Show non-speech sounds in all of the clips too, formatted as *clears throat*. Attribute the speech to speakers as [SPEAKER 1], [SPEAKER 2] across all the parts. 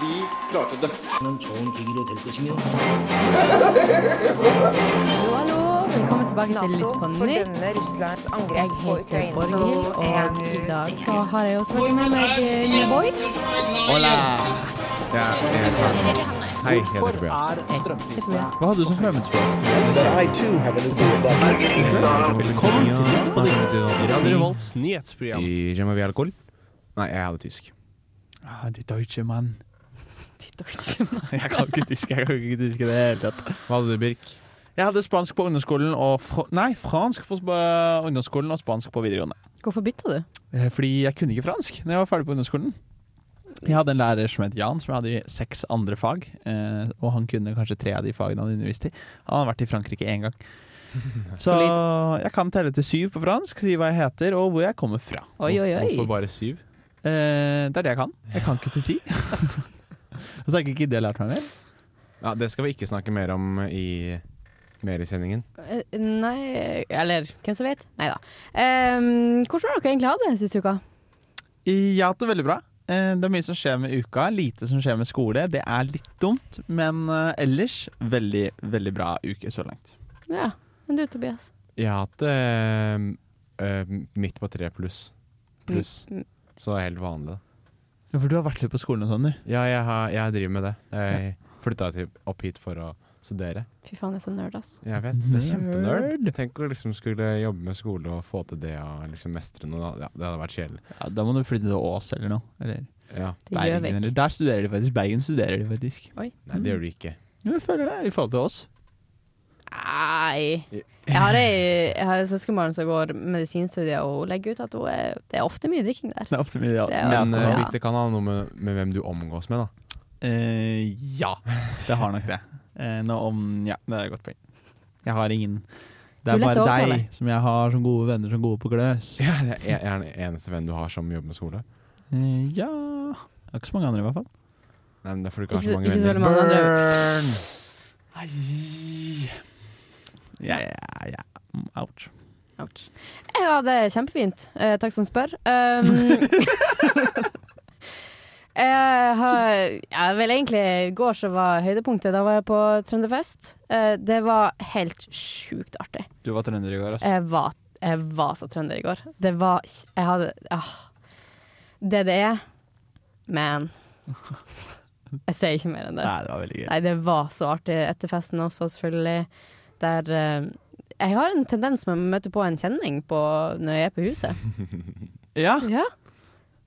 [SPEAKER 1] vi klarte det.
[SPEAKER 2] 는 좋은 계기로 될 것이며
[SPEAKER 3] Hallo, hallo. Velkommen tilbake til
[SPEAKER 4] Nato
[SPEAKER 3] Litt på nytt.
[SPEAKER 4] fordømmer Russlands
[SPEAKER 3] Jeg
[SPEAKER 4] angrep på
[SPEAKER 3] heter
[SPEAKER 4] Ukraina. Så
[SPEAKER 3] Borghild,
[SPEAKER 4] er
[SPEAKER 3] og
[SPEAKER 4] du
[SPEAKER 3] i dag
[SPEAKER 4] sikker?
[SPEAKER 3] så har jeg også vært med meg eh, New Boys.
[SPEAKER 5] Ja, jeg heter Bjørn. Hei, jeg heter Bjørn.
[SPEAKER 1] Er strømprisen
[SPEAKER 3] Tobias.
[SPEAKER 5] Hva hadde du som fremmedspråk?
[SPEAKER 6] Velkommen til Nytt på Nytt. Radio
[SPEAKER 5] Ja,
[SPEAKER 6] Revolts nyhetsprogram.
[SPEAKER 5] I Jemma Alkohol? Nei, jeg hadde tysk.
[SPEAKER 6] Ah, de deutsche mann. *laughs* Jeg kan ikke tysk, jeg kan ikke tysk i det hele tatt.
[SPEAKER 5] Hva hadde du, Birk?
[SPEAKER 6] Jeg hadde spansk på ungdomsskolen og fr Nei, fransk på sp- ungdomsskolen og spansk på videregående.
[SPEAKER 3] Hvorfor bytta du?
[SPEAKER 6] Eh, Fordi jeg kunne ikke fransk når jeg var ferdig på ungdomsskolen. Jeg hadde en lærer som het Jan, som jeg hadde i seks andre fag. eh, Og han kunne kanskje tre av de fagene han underviste i. Han hadde vært i Frankrike én gang. *laughs* Så jeg kan telle til syv på fransk, si hva jeg heter og hvor jeg kommer fra.
[SPEAKER 3] Oi, oi,
[SPEAKER 5] Hvorfor
[SPEAKER 3] oi.
[SPEAKER 5] bare syv?
[SPEAKER 6] Eh, det er det jeg kan. Jeg kan ikke til ti. *laughs* Og så har ikke det lært meg mer.
[SPEAKER 5] Ja, Det skal vi ikke snakke mer om i mer i sendingen.
[SPEAKER 3] Eh, Nei, eller hvem som vet? Nei da. Um, hvordan har dere egentlig hatt det siste uka?
[SPEAKER 6] Jeg har hatt det veldig bra. Eh, det er mye som skjer med uka. Lite som skjer med skole. Det er litt dumt, men eh, ellers veldig, veldig bra uke så langt.
[SPEAKER 3] Ja, men du Tobias?
[SPEAKER 5] Jeg har hatt det eh, midt på tre pluss. Pluss.
[SPEAKER 3] Mm, mm.
[SPEAKER 5] Så det er helt vanlig. da.
[SPEAKER 6] for du har vært litt på skolen og sånn, du.
[SPEAKER 5] Ja, jeg, har, jeg driver med det. Jeg flytta til- opp hit for å studere.
[SPEAKER 3] Fy faen, jeg er så nerd, ass.
[SPEAKER 5] Jeg vet, det er kjempenerd.
[SPEAKER 6] Nerd.
[SPEAKER 5] Tenk å liksom skulle jobbe med skole og få til det og liksom mestre noe. da. Ja, det hadde vært kjedelig.
[SPEAKER 6] Ja, da må du flytte til Ås eller noe. Eller
[SPEAKER 5] Ja,
[SPEAKER 3] Til
[SPEAKER 6] Bergen.
[SPEAKER 3] Gjøvik.
[SPEAKER 6] Eller. Der studerer de faktisk. Bergen studerer de faktisk.
[SPEAKER 3] Oi.
[SPEAKER 5] Nei, det gjør du ikke.
[SPEAKER 6] Jo, jeg føler det i forhold til oss.
[SPEAKER 3] Nei. Jeg har ei, jeg har ei søskenbarn som går medisinstudiet, og hun legger ut at hun er, det er ofte mye drikking der.
[SPEAKER 6] Det er ofte mye ja.
[SPEAKER 3] Det er jo-
[SPEAKER 5] Men eh,
[SPEAKER 3] Ja.
[SPEAKER 5] Birk, det kan ha noe med, med hvem du omgås med, da.
[SPEAKER 6] Eh, ja, det har nok det. Eh, nå om Ja, det er et godt poeng. Jeg har ingen. Det
[SPEAKER 3] Du
[SPEAKER 6] er
[SPEAKER 3] er lett
[SPEAKER 6] bare
[SPEAKER 3] å
[SPEAKER 6] deg
[SPEAKER 3] overtale.
[SPEAKER 6] som jeg har som gode venner som gode på gløs.
[SPEAKER 5] Ja, det er er den eneste vennen du har som jobber med skole.
[SPEAKER 6] Eh, ja Jeg har ikke så mange andre, i hvert fall.
[SPEAKER 5] Nei, men Det er fordi du ikke har
[SPEAKER 3] Ikke-
[SPEAKER 5] så mange
[SPEAKER 3] ikke så veldig
[SPEAKER 5] venner.
[SPEAKER 3] mange andre.
[SPEAKER 5] Burn!
[SPEAKER 6] Ja, ja, ja. Mm, Ouch.
[SPEAKER 3] Ouch. Jeg hadde det kjempefint. Eh, takk som spør. Um, *laughs* jeg, har, ja, vel egentlig I går så var høydepunktet. Da var jeg på Trønderfest. Eh, det var helt sjukt artig.
[SPEAKER 6] Du var trønder i går, altså.
[SPEAKER 3] Jeg var, jeg var så trønder i går. Det var Jeg hadde ah. Det det er Man. Jeg sier ikke mer enn det.
[SPEAKER 6] Nei, det var veldig gøy.
[SPEAKER 3] Nei, det var så artig etter festen også, selvfølgelig. Der eh, Jeg har en tendens med å møte på en kjenning på, når jeg er på huset.
[SPEAKER 6] Ja,
[SPEAKER 3] Ja.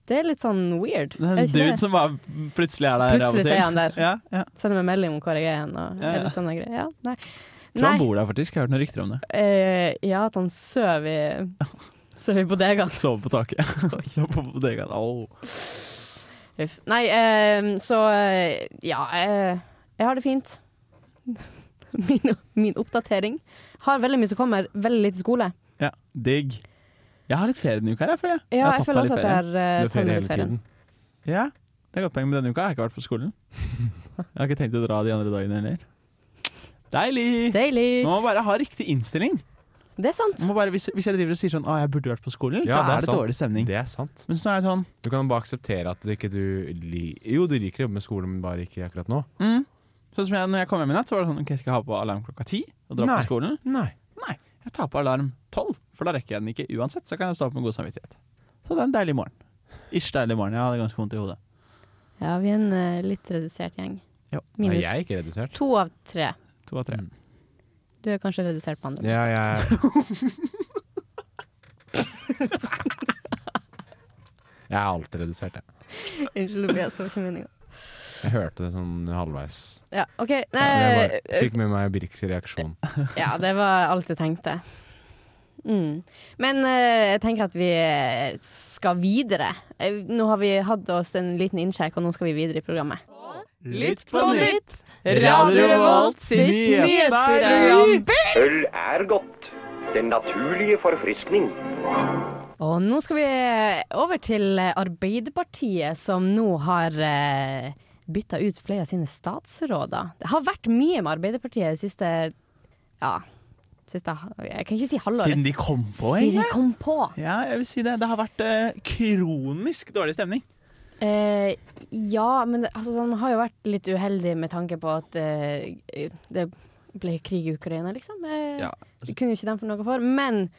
[SPEAKER 3] Det er litt sånn weird.
[SPEAKER 6] det er
[SPEAKER 3] er
[SPEAKER 6] en
[SPEAKER 3] ikke
[SPEAKER 6] dude
[SPEAKER 3] det?
[SPEAKER 6] som bare plutselig er der av og
[SPEAKER 3] Plutselig
[SPEAKER 6] til.
[SPEAKER 3] så er han der.
[SPEAKER 6] Ja, ja.
[SPEAKER 3] Sender meg melding om hvor jeg er hen og
[SPEAKER 6] Ja, ja.
[SPEAKER 3] litt sånne greier. Ja, nei.
[SPEAKER 6] Tror han
[SPEAKER 3] Nei,
[SPEAKER 6] bor der, faktisk. Jeg har hørt noen rykter om det.
[SPEAKER 3] eh, ja, at han sover i
[SPEAKER 6] *laughs*
[SPEAKER 3] Sover i bodegaen.
[SPEAKER 6] Sove på taket. *laughs* Sove på bodegaen. Au.
[SPEAKER 3] Uff. Nei, eh, så eh, ja eh, Jeg har det fint. *laughs* Min, min oppdatering. Har veldig mye som kommer, veldig lite skole.
[SPEAKER 6] Ja, digg. Jeg har litt ferie denne uka, her, jeg føler jeg.
[SPEAKER 3] Ja,
[SPEAKER 6] har
[SPEAKER 3] jeg
[SPEAKER 6] tatt
[SPEAKER 3] føler
[SPEAKER 6] meg litt
[SPEAKER 3] også at
[SPEAKER 6] ferie.
[SPEAKER 3] jeg
[SPEAKER 5] Du
[SPEAKER 3] er eh,
[SPEAKER 5] er ferie hele tiden.
[SPEAKER 6] Ja, det er godt poeng, men denne uka har jeg ikke vært på skolen. Jeg har ikke tenkt å dra de andre dagene heller. Deilig!
[SPEAKER 3] Deilig!
[SPEAKER 6] Man må bare ha riktig innstilling.
[SPEAKER 3] Det er sant.
[SPEAKER 6] Man må bare, hvis, hvis jeg driver og sier sånn 'Å, jeg burde vært på skolen',
[SPEAKER 5] Ja,
[SPEAKER 6] da
[SPEAKER 5] det er
[SPEAKER 6] er det
[SPEAKER 5] sant.
[SPEAKER 6] dårlig stemning.
[SPEAKER 5] Det er sant.
[SPEAKER 6] Men så er jeg sånn
[SPEAKER 5] Du kan bare akseptere at det ikke du liker Jo, du liker å jobbe med skole, men bare ikke akkurat nå.
[SPEAKER 6] mm. Sånn som jeg, når jeg kom hjem i natt, så var det sånn OK, jeg skal ha på alarm klokka ti og dra
[SPEAKER 5] Nei.
[SPEAKER 6] på skolen.
[SPEAKER 5] Nei.
[SPEAKER 6] Jeg tar på alarm tolv, for da rekker jeg den ikke uansett. Så kan jeg stå opp med god samvittighet. Så det er en deilig morgen. Ish deilig morgen. Jeg hadde ganske vondt i hodet.
[SPEAKER 3] Ja, vi er en eh, litt redusert gjeng.
[SPEAKER 6] Ja.
[SPEAKER 5] Nei,
[SPEAKER 3] Minus
[SPEAKER 5] jeg er ikke redusert.
[SPEAKER 3] to av tre.
[SPEAKER 6] To av tre.
[SPEAKER 3] Du er kanskje redusert på andre.
[SPEAKER 5] Ja, jeg *laughs* Jeg er alltid redusert, jeg.
[SPEAKER 3] *laughs* Unnskyld, Tobias, det var ikke meninga.
[SPEAKER 5] Jeg hørte det sånn halvveis.
[SPEAKER 3] Ja, OK. Nei,
[SPEAKER 5] Jeg bare
[SPEAKER 3] eh,
[SPEAKER 5] fikk med meg Birks reaksjon.
[SPEAKER 3] *laughs* ja, det var alt jeg tenkte. Mm. Men eh, jeg tenker at vi eh, skal videre. Eh, Nå har vi hatt oss en liten innsjekk, og nå skal vi videre i programmet.
[SPEAKER 6] Litt
[SPEAKER 4] på nytt.
[SPEAKER 6] Radio Revolt sitt nyhetsprogram.
[SPEAKER 7] Øl er godt. Den naturlige forfriskning.
[SPEAKER 3] Og nå skal vi over til eh, Arbeiderpartiet, som nå har eh, bytta ut flere av sine statsråder. Det har vært mye med Arbeiderpartiet det siste Ja, siste, jeg kan ikke si halvåret.
[SPEAKER 6] Siden de kom på,
[SPEAKER 3] Siden de kom på.
[SPEAKER 6] Ja, jeg vil si det. Det har vært eh, kronisk dårlig stemning.
[SPEAKER 3] Eh, ja, men det, altså, de har jo vært litt uheldig med tanke på at eh, det ble krig i Ukraina, liksom. Eh,
[SPEAKER 6] Ja. altså,
[SPEAKER 3] Det kunne jo ikke de få noe for. Men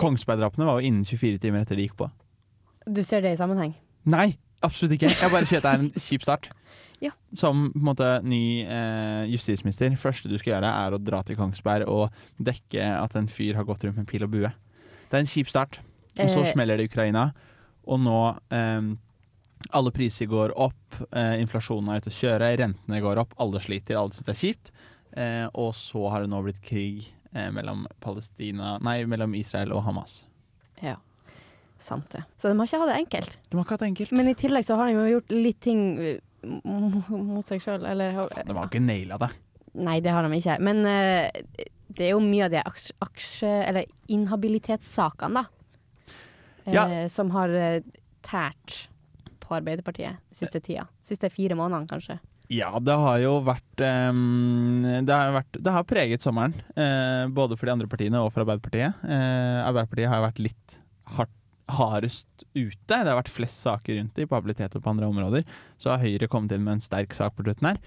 [SPEAKER 6] Kongsberg-drapene var jo innen 24 timer etter de gikk på.
[SPEAKER 3] du ser det i sammenheng.
[SPEAKER 6] Nei, absolutt ikke. Jeg bare sier at det er en kjip start.
[SPEAKER 3] *laughs* Ja.
[SPEAKER 6] Som på en måte ny eh, justisminister, første du skal gjøre er å dra til Kongsberg og dekke at en fyr har gått rundt med pil og bue. Det er en kjip start. Og så
[SPEAKER 3] Eh.
[SPEAKER 6] smeller det i Ukraina, og nå eh, alle priser går opp, eh, inflasjonen er ute å kjøre, rentene går opp, alle sliter, alle syns det er kjipt. Eh, og så har det nå blitt krig eh, mellom, Palestina, nei, mellom Israel og Hamas.
[SPEAKER 3] Ja. Sant det. Så de har ikke hatt det enkelt.
[SPEAKER 6] De har ikke hatt det enkelt.
[SPEAKER 3] Men i tillegg så har de jo gjort litt ting eh, m- mot seg sjøl, eller
[SPEAKER 6] De har ikke naila det.
[SPEAKER 3] Nei, det har de ikke. Men eh, det er jo mye av de aksje... aksje- eller inhabilitetssakene, da. eh,
[SPEAKER 6] Ja.
[SPEAKER 3] Som har eh, tært på Arbeiderpartiet de siste tida. Siste fire månedene, kanskje.
[SPEAKER 6] Ja, det har jo vært eh, Det har, vært, det har preget sommeren. eh, både for de andre partiene og for Arbeiderpartiet. Eh, Arbeiderpartiet har jo vært litt hardt, hardest ute. Det har vært flest saker rundt det, på habilitet og på andre områder. Så har Høyre kommet inn med en sterk sak på slutten her.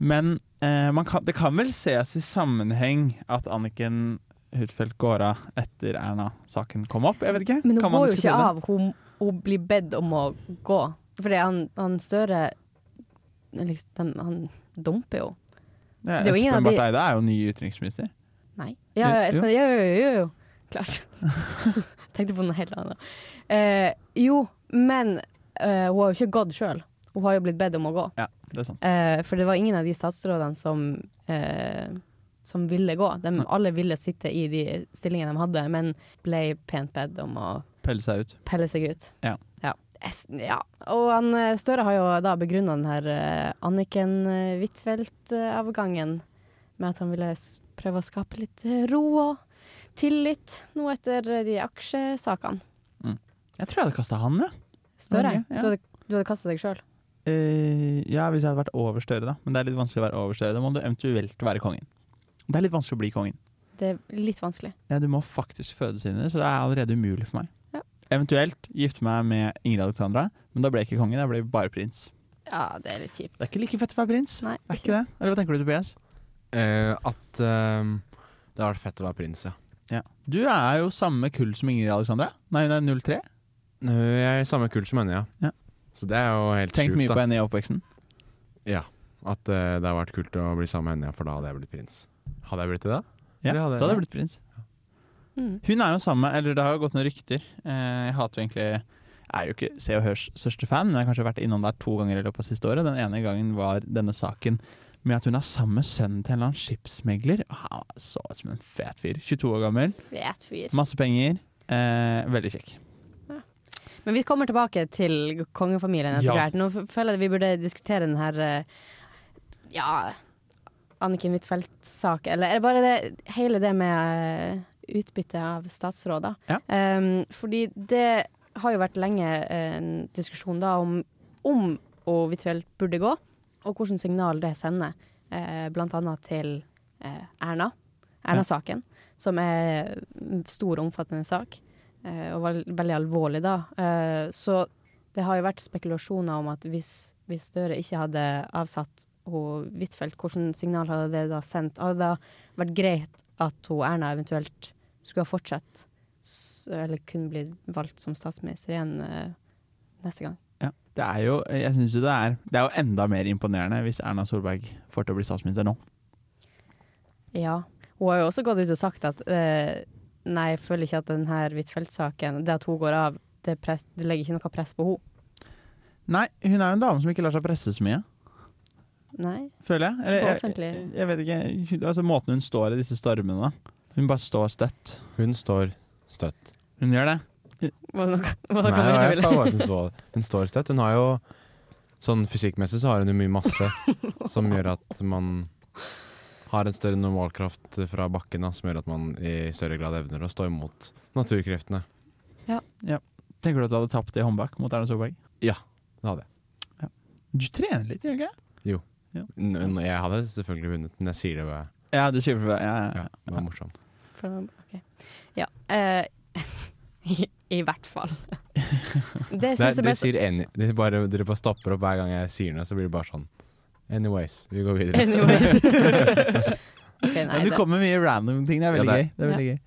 [SPEAKER 6] Men eh, man kan, det kan vel ses i sammenheng at Anniken Huitfeldt går av etter Erna-saken kom opp. Jeg vet ikke.
[SPEAKER 3] Men hun
[SPEAKER 6] Kan man
[SPEAKER 3] går jo ikke
[SPEAKER 6] diskutere det?
[SPEAKER 3] av. Hun, hun blir bedt om å gå. Fordi han, han Støre liksom, den- Han dumper jo.
[SPEAKER 6] Ja,
[SPEAKER 3] Det er jo ingen av
[SPEAKER 6] Espen
[SPEAKER 3] de-
[SPEAKER 6] Barth Eide er jo ny utenriksminister.
[SPEAKER 3] Nei. Ja, ja,
[SPEAKER 6] Jo,
[SPEAKER 3] Espen, jo, jo, jo, jo. Klart. Tenkte på noe helt annet. Eh, jo, men eh, hun har jo ikke gått sjøl. Hun har jo blitt bedt om å gå.
[SPEAKER 6] Ja, det er sant.
[SPEAKER 3] Eh, for det var ingen av de statsrådene som, eh, som ville gå. De, alle ville sitte i de stillingene de hadde, men ble pent bedt om å
[SPEAKER 6] Pelle seg ut.
[SPEAKER 3] pelle seg ut.
[SPEAKER 6] Ja.
[SPEAKER 3] Ja. Es- ja. Og han, eh, Støre har jo da begrunna den her eh, Anniken eh, Huitfeldt-avgangen med at han ville s- prøve å skape litt eh, ro og tillit nå etter eh, de aksjesakene.
[SPEAKER 6] Jeg tror jeg hadde kasta han, ja.
[SPEAKER 3] Støre,
[SPEAKER 6] Ok, ja.
[SPEAKER 3] du hadde, du hadde kasta deg sjøl.
[SPEAKER 6] Eh, ja, hvis jeg hadde vært over Støre, da. Men det er litt vanskelig å være over Støre. Da må du eventuelt være kongen. Det er litt vanskelig å bli kongen.
[SPEAKER 3] Det er litt vanskelig.
[SPEAKER 6] Ja, du må faktisk fødes inn i det, så det er allerede umulig for meg.
[SPEAKER 3] Ja.
[SPEAKER 6] Eventuelt gifte meg med Ingrid Alexandra, men da ble jeg ikke konge, da ble jeg bare prins.
[SPEAKER 3] Ja, det er litt kjipt.
[SPEAKER 6] Det er ikke like fett å være prins.
[SPEAKER 3] Nei,
[SPEAKER 6] Er ikke det? Eller hva tenker du, Tobias?
[SPEAKER 5] Eh, at eh, det har vært fett å være prins, ja.
[SPEAKER 6] Du er jo samme kull som Ingrid Alexandra. Nei, hun er 03.
[SPEAKER 5] Nå er jeg i samme kull som henne, ja.
[SPEAKER 6] Ja.
[SPEAKER 5] Så det er jo helt
[SPEAKER 6] Tenkt mye
[SPEAKER 5] sjukt,
[SPEAKER 6] på
[SPEAKER 5] da.
[SPEAKER 6] henne i oppveksten.
[SPEAKER 5] Ja. At eh, det har vært kult å bli sammen med henne, ja, for da hadde jeg blitt prins. Hadde jeg blitt det da?
[SPEAKER 6] Ja,
[SPEAKER 5] Det
[SPEAKER 6] da
[SPEAKER 5] hadde-
[SPEAKER 6] hadde
[SPEAKER 5] ja.
[SPEAKER 6] jeg blitt prins.
[SPEAKER 3] Mm.
[SPEAKER 6] Hun er jo samme, eller det har jo gått noen rykter. Eh, Jeg hater jo egentlig Jeg er jo ikke Se og Hørs største fan, men jeg har kanskje vært innom der to ganger i løpet av siste året. Den ene gangen var denne saken med at hun er sammen med sønnen til en eller annen skipsmegler. Og Han så ut som en fet fyr. 22 år gammel,
[SPEAKER 3] Fet fyr.
[SPEAKER 6] masse penger. Eh, veldig kjekk.
[SPEAKER 3] Men vi kommer tilbake til kongefamilien etter
[SPEAKER 6] Ja.
[SPEAKER 3] hvert. Nå f- føler jeg vi burde diskutere den her eh, Ja Anniken Huitfeldt-sak, eller er det bare det, hele det med eh, utbytte av statsråder.
[SPEAKER 6] Ja.
[SPEAKER 3] Em, fordi det har jo vært lenge eh, en diskusjon da om, om og Huitfeldt burde gå, og hvilket signal det sender, eh, blant annet til eh, Erna. Erna-saken, som er en stor og omfattende sak, eh, og vel- veldig alvorlig da. Eh, Så det har jo vært spekulasjoner om at hvis, hvis Støre ikke hadde avsatt hun Huitfeldt, hvilket signal hadde det da sendt? Hadde det da vært greit at hun Erna eventuelt skulle ha fortsatt, s- eller kunne bli valgt som statsminister igjen eh, neste gang?
[SPEAKER 6] Ja. Det er jo Jeg synes jo det er Det er jo enda mer imponerende hvis Erna Solberg får til å bli statsminister nå.
[SPEAKER 3] Ja. Hun har jo også gått ut og sagt at eh, nei, jeg føler ikke at denne Huitfeldt-saken, det at hun går av, det, press, det legger ikke noe press på henne.
[SPEAKER 6] Nei, hun er jo en dame som ikke lar seg presse så mye.
[SPEAKER 3] Nei.
[SPEAKER 6] føler jeg. Eller, jeg,
[SPEAKER 3] offentlig.
[SPEAKER 6] jeg, jeg vet ikke. Hun- Altså, måten hun står i disse stormene da. Hun bare står støtt.
[SPEAKER 5] Hun står støtt.
[SPEAKER 6] Hun gjør det.
[SPEAKER 3] Var det noe, var det
[SPEAKER 5] Nei,
[SPEAKER 3] noe mer
[SPEAKER 5] jeg
[SPEAKER 3] du
[SPEAKER 5] sa
[SPEAKER 3] ville?
[SPEAKER 5] bare at hun står, hun står støtt. Hun har jo Sånn fysikkmessig så har hun jo mye masse som gjør at man har en større normalkraft fra bakken, da, som gjør at man i større grad evner å stå imot naturkreftene.
[SPEAKER 6] Tenker du at du hadde tapt i håndbak mot Erna Solberg?
[SPEAKER 5] Det hadde jeg.
[SPEAKER 6] Du trener litt, gjør du ikke?
[SPEAKER 5] N- n- Jeg hadde selvfølgelig vunnet, men jeg sier det bare.
[SPEAKER 6] Ja, du sier for det. Ja, ja,
[SPEAKER 5] Ja,
[SPEAKER 6] ja.
[SPEAKER 5] det var morsomt.
[SPEAKER 3] *laughs*
[SPEAKER 6] *laughs*
[SPEAKER 3] For- ok. Ja. eh, i, I hvert fall. Det
[SPEAKER 5] Nei,
[SPEAKER 3] syns jeg
[SPEAKER 5] dere
[SPEAKER 3] best
[SPEAKER 5] sier any... Dere bare, dere bare stopper opp hver gang jeg sier noe, så blir det bare sånn. Anyways, vi går videre.
[SPEAKER 3] Anyways. Ok, nei,
[SPEAKER 6] Men du
[SPEAKER 3] det-
[SPEAKER 6] kommer med mye random ting. Det er veldig
[SPEAKER 5] Ja, det
[SPEAKER 6] gøy. Det er veldig gøy.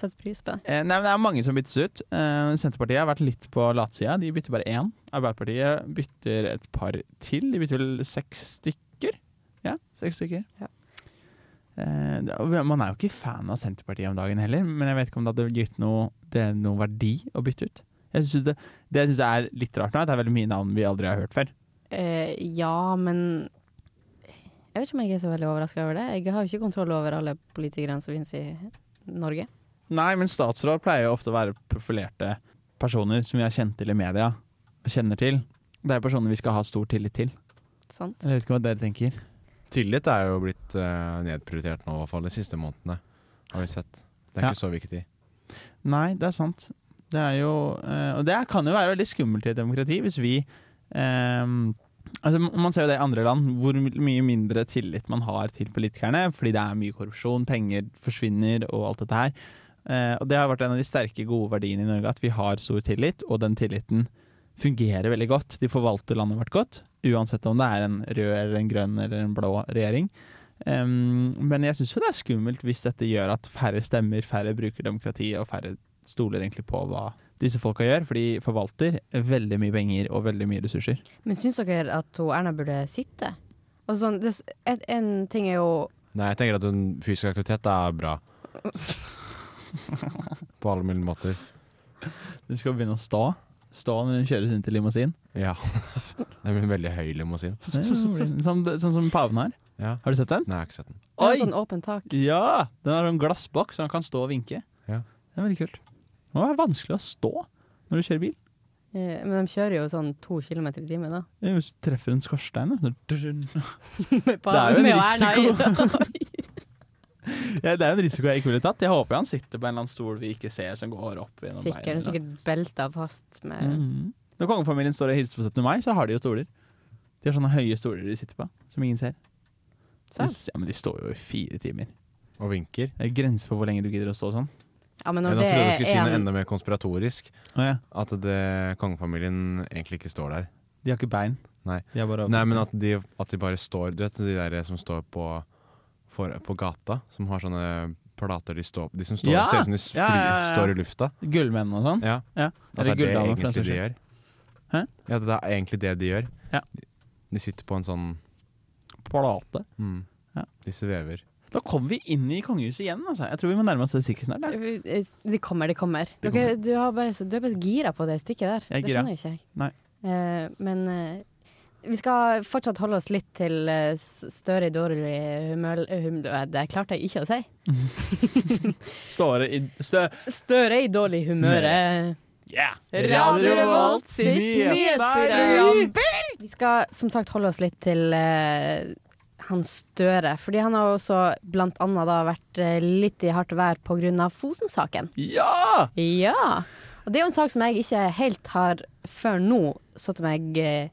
[SPEAKER 3] Setter pris på det.
[SPEAKER 6] Eh, Nei, men Det er mange som byttes ut. Eh, Senterpartiet har vært litt på latsida. De bytter bare én. Arbeiderpartiet bytter et par til. De bytter vel seks stykker? Ja, seks stykker.
[SPEAKER 3] Ja.
[SPEAKER 6] Eh, det- og Man er jo ikke fan av Senterpartiet om dagen heller, men jeg vet ikke om det hadde gitt noe, det er noe verdi å bytte ut. Jeg synes det, det jeg syns er litt rart nå, er at det er veldig mye navn vi aldri har hørt før.
[SPEAKER 3] Eh, ja, men Jeg vet ikke om jeg er så veldig overraska over det. Jeg har jo ikke kontroll over alle politikerne som finnes i Norge.
[SPEAKER 6] Nei, men statsråd pleier jo ofte å være profilerte personer som vi har kjent til i media, og kjenner til. Det er personer vi skal ha stor tillit til.
[SPEAKER 3] Sant?
[SPEAKER 6] Jeg vet ikke hva dere tenker.
[SPEAKER 5] *laughs* Tillit er jo blitt eh, nedprioritert nå, i hvert fall de siste månedene, har vi sett. Det er
[SPEAKER 6] Ja.
[SPEAKER 5] ikke så viktig.
[SPEAKER 6] Nei, det er sant. Det er jo, eh, og det kan jo være veldig skummelt i et demokrati hvis vi eh, altså Man ser jo det i andre land, hvor mye mindre tillit man har til politikerne fordi det er mye korrupsjon, penger forsvinner og alt dette her. Eh, og Det har vært en av de sterke, gode verdiene i Norge at vi har stor tillit, og den tilliten fungerer veldig godt. De forvalter landet vårt godt, uansett om det er en rød eller en grønn eller en blå regjering. Um, men jeg syns jo det er skummelt hvis dette gjør at færre stemmer, færre bruker demokrati, og færre stoler egentlig på hva disse folka gjør, for de forvalter veldig mye penger og veldig mye ressurser.
[SPEAKER 3] Men syns dere at hun Erna burde sitte? Og sånn, det, et, en ting er jo
[SPEAKER 5] Nei, jeg tenker at en fysisk aktivitet er bra.
[SPEAKER 3] *laughs*
[SPEAKER 5] På alle mulige måter.
[SPEAKER 6] Du skal begynne å stå. Stå når hun kjøres rundt i limousin.
[SPEAKER 5] Ja. *laughs* Det blir en veldig høy limousin.
[SPEAKER 6] Det blir- Sånn, sånn som paven har.
[SPEAKER 5] Ja.
[SPEAKER 6] Har du sett den?
[SPEAKER 5] Nei, jeg har ikke sett den.
[SPEAKER 3] det er sånn åpent tak.
[SPEAKER 6] Ja! Den har sånn glassboks, så han kan stå og vinke.
[SPEAKER 5] Ja.
[SPEAKER 6] Det er veldig kult. Det må være vanskelig å stå når du kjører bil.
[SPEAKER 3] Eh, Men de kjører jo sånn to kilometer i timen, da. *laughs*
[SPEAKER 6] Hvis du treffer en skorstein da.
[SPEAKER 3] Med
[SPEAKER 6] er jo en
[SPEAKER 3] med Erna i-
[SPEAKER 6] *laughs* ja, Det er jo en risiko jeg ikke ville tatt. Jeg håper han sitter på en eller annen stol vi ikke ser, som går opp gjennom
[SPEAKER 3] Sikkert,
[SPEAKER 6] veien.
[SPEAKER 3] den er sikkert belta fast med
[SPEAKER 6] Mm. Når kongefamilien står og hilser på 17. mai, så har de jo stoler. De har sånne høye stoler de sitter på, som ingen ser. De,
[SPEAKER 3] Sant?
[SPEAKER 6] s- ja, men de står jo i fire timer.
[SPEAKER 5] Og vinker.
[SPEAKER 6] Det er grenser for hvor lenge du gidder å stå sånn.
[SPEAKER 3] Ja, men
[SPEAKER 5] Jeg
[SPEAKER 3] når
[SPEAKER 5] nå
[SPEAKER 3] det
[SPEAKER 5] trodde du skulle si
[SPEAKER 3] er
[SPEAKER 5] noe
[SPEAKER 3] en
[SPEAKER 5] enda mer konspiratorisk. At det, kongefamilien egentlig ikke står der.
[SPEAKER 6] De har ikke bein.
[SPEAKER 5] Nei.
[SPEAKER 6] De har bare
[SPEAKER 5] Nei, men at de, at de bare står Du vet de der som står på, for, på gata, som har sånne plater de står De som står,
[SPEAKER 6] Ja!
[SPEAKER 5] ser ut som de s- fly,
[SPEAKER 6] Ja, ja, ja.
[SPEAKER 5] står i lufta.
[SPEAKER 6] Gullmenn og sånn.
[SPEAKER 5] Ja.
[SPEAKER 6] Ja.
[SPEAKER 5] At det er det
[SPEAKER 6] gulldamer, for den
[SPEAKER 5] egentlig
[SPEAKER 6] saks
[SPEAKER 5] de
[SPEAKER 6] skyld.
[SPEAKER 5] gjør.
[SPEAKER 6] Hæ?
[SPEAKER 5] Ja, det er egentlig det de gjør.
[SPEAKER 6] Ja.
[SPEAKER 5] De- De sitter på en sånn
[SPEAKER 6] Plate.
[SPEAKER 5] mm,
[SPEAKER 6] Ja.
[SPEAKER 5] De svever.
[SPEAKER 6] Da kom vi inn i kongehuset igjen, altså. Jeg tror vi må nærme oss det sikkert snart. ja.
[SPEAKER 3] eh, Det kommer, det kommer.
[SPEAKER 6] Det
[SPEAKER 3] Dere, du, har bare, så- du er bare gira på det stikket der.
[SPEAKER 6] Jeg er
[SPEAKER 3] det
[SPEAKER 6] gira.
[SPEAKER 3] skjønner jeg ikke. jeg.
[SPEAKER 6] Nei.
[SPEAKER 3] Eh, men eh, vi skal fortsatt holde oss litt til eh, s- Støre i dårlig humør eh, hum, Det klarte jeg ikke å si.
[SPEAKER 6] Står i stø...
[SPEAKER 3] Støre i dårlig humør. eh.
[SPEAKER 6] Yeah!
[SPEAKER 3] Vi skal som sagt holde oss litt til eh, han Støre. Fordi han har jo også blant annet da vært eh, litt i hardt vær pga. Fosen-saken.
[SPEAKER 6] Ja!
[SPEAKER 3] Ja. Og det er jo en sak som jeg ikke helt har før nå satt meg eh,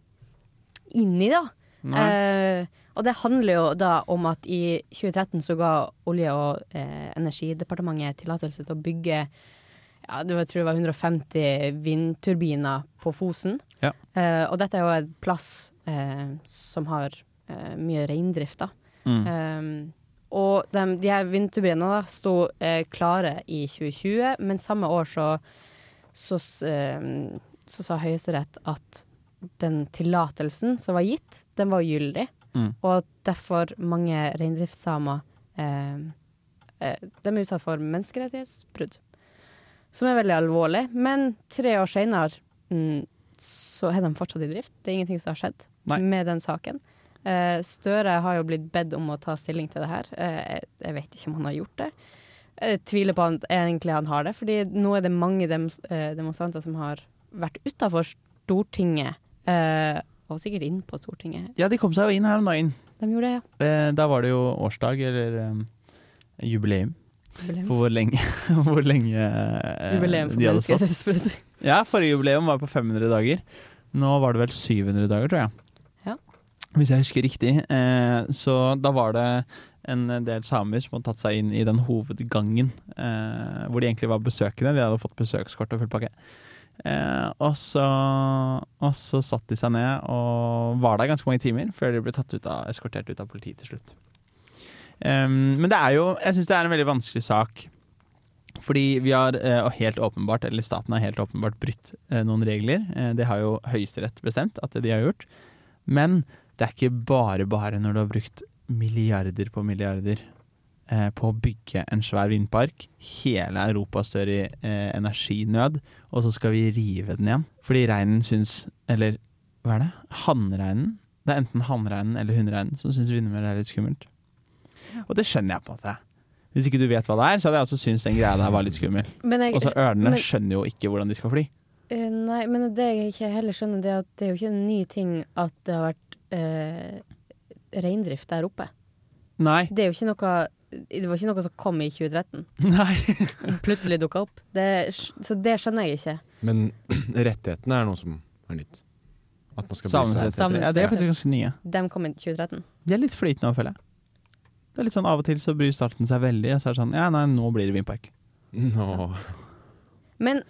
[SPEAKER 3] inn i, da.
[SPEAKER 6] Nei.
[SPEAKER 3] Eh, og det handler jo da om at i 2013 så ga Olje- og eh, energidepartementet tillatelse til å bygge ja, det var, jeg tror det var 150 vindturbiner på Fosen.
[SPEAKER 6] Ja.
[SPEAKER 3] Eh, og dette er jo en plass eh, som har eh, mye reindrift, da.
[SPEAKER 6] Mm.
[SPEAKER 3] Um, og de, de her vindturbinene da sto eh, klare i 2020, men samme år så så, s- eh, så sa Høyesterett at den tillatelsen som var gitt, den var gyldig.
[SPEAKER 6] Mm.
[SPEAKER 3] Og at derfor mange reindriftssamer eh, eh, De er utsatt for menneskerettighetsbrudd. Som er veldig alvorlig. Men tre år seinere mm, så er de fortsatt i drift. Det er ingenting som har skjedd
[SPEAKER 6] Nei.
[SPEAKER 3] med den saken. Eh, Støre har jo blitt bedt om å ta stilling til det her. Eh, jeg- jeg vet ikke om han har gjort det. Jeg tviler på at egentlig han har det, fordi nå er det mange dem, eh, demonstranter som har vært utafor Stortinget, eh, og sikkert inn på Stortinget.
[SPEAKER 6] Ja, de kom seg jo inn her om dagen.
[SPEAKER 3] De gjorde det, ja.
[SPEAKER 6] Eh, Da var det jo årsdag, eller eh, jubileum,
[SPEAKER 3] Jubileum.
[SPEAKER 6] for hvor lenge, *laughs* hvor lenge eh,
[SPEAKER 3] Jubileum for
[SPEAKER 6] de hadde stått.
[SPEAKER 3] menneskerettighetsbrudd.
[SPEAKER 6] Ja, forrige jubileum var på 500 dager. Nå var det vel 700 dager, tror jeg.
[SPEAKER 3] Ja.
[SPEAKER 6] Hvis jeg husker riktig. eh, Så da var det en del samer som hadde tatt seg inn i den hovedgangen, eh, hvor de egentlig var besøkende. De hadde fått besøkskort og full pakke. Eh, og, så, og så satt de seg ned og var der ganske mange timer før de ble tatt ut av, eskortert ut av politiet til slutt. Em, men det er jo, jeg syns det er en veldig vanskelig sak. Fordi vi har eh, og helt åpenbart, eller staten har helt åpenbart brutt eh, noen regler. Eh, Det har jo Høyesterett bestemt at de har gjort. Men det er ikke bare bare når du har brukt milliarder på milliarder eh, på å bygge en svær vindpark. Hele Europa står i eh, energinød, og så skal vi rive den igjen. Fordi reinen syns Eller hva er det? Hannreinen? Det er enten hannreinen eller hunnreinen som syns vindmøller er litt skummelt. Og det skjønner jeg på en måte. Hvis ikke du vet hva det er, så hadde jeg også syntes den greia der var litt skummel.
[SPEAKER 3] Men jeg,
[SPEAKER 6] Og så ørnene
[SPEAKER 3] men-
[SPEAKER 6] skjønner jo ikke hvordan de skal fly.
[SPEAKER 3] Eh, nei, men det jeg ikke heller skjønner, det er at det er jo ikke en ny ting at det har vært eh, reindrift der oppe.
[SPEAKER 6] Nei. *laughs*
[SPEAKER 3] Det er jo ikke noe det var ikke noe som kom i 2013.
[SPEAKER 6] Nei.
[SPEAKER 3] Plutselig dukka opp. Det, så det skjønner jeg ikke.
[SPEAKER 5] Men *clears throat* rettighetene er noe som er nytt. At man skal bli
[SPEAKER 6] Samenes
[SPEAKER 5] sett.
[SPEAKER 6] rettigheter. Ja, de er faktisk ganske nye.
[SPEAKER 3] De kom i 2013.
[SPEAKER 6] De er litt flytende over, føler jeg. Det er litt sånn Av og til så bryr staten seg veldig, og så er det sånn Ja, nei, nå blir det vindpark.
[SPEAKER 5] Nå.
[SPEAKER 3] Men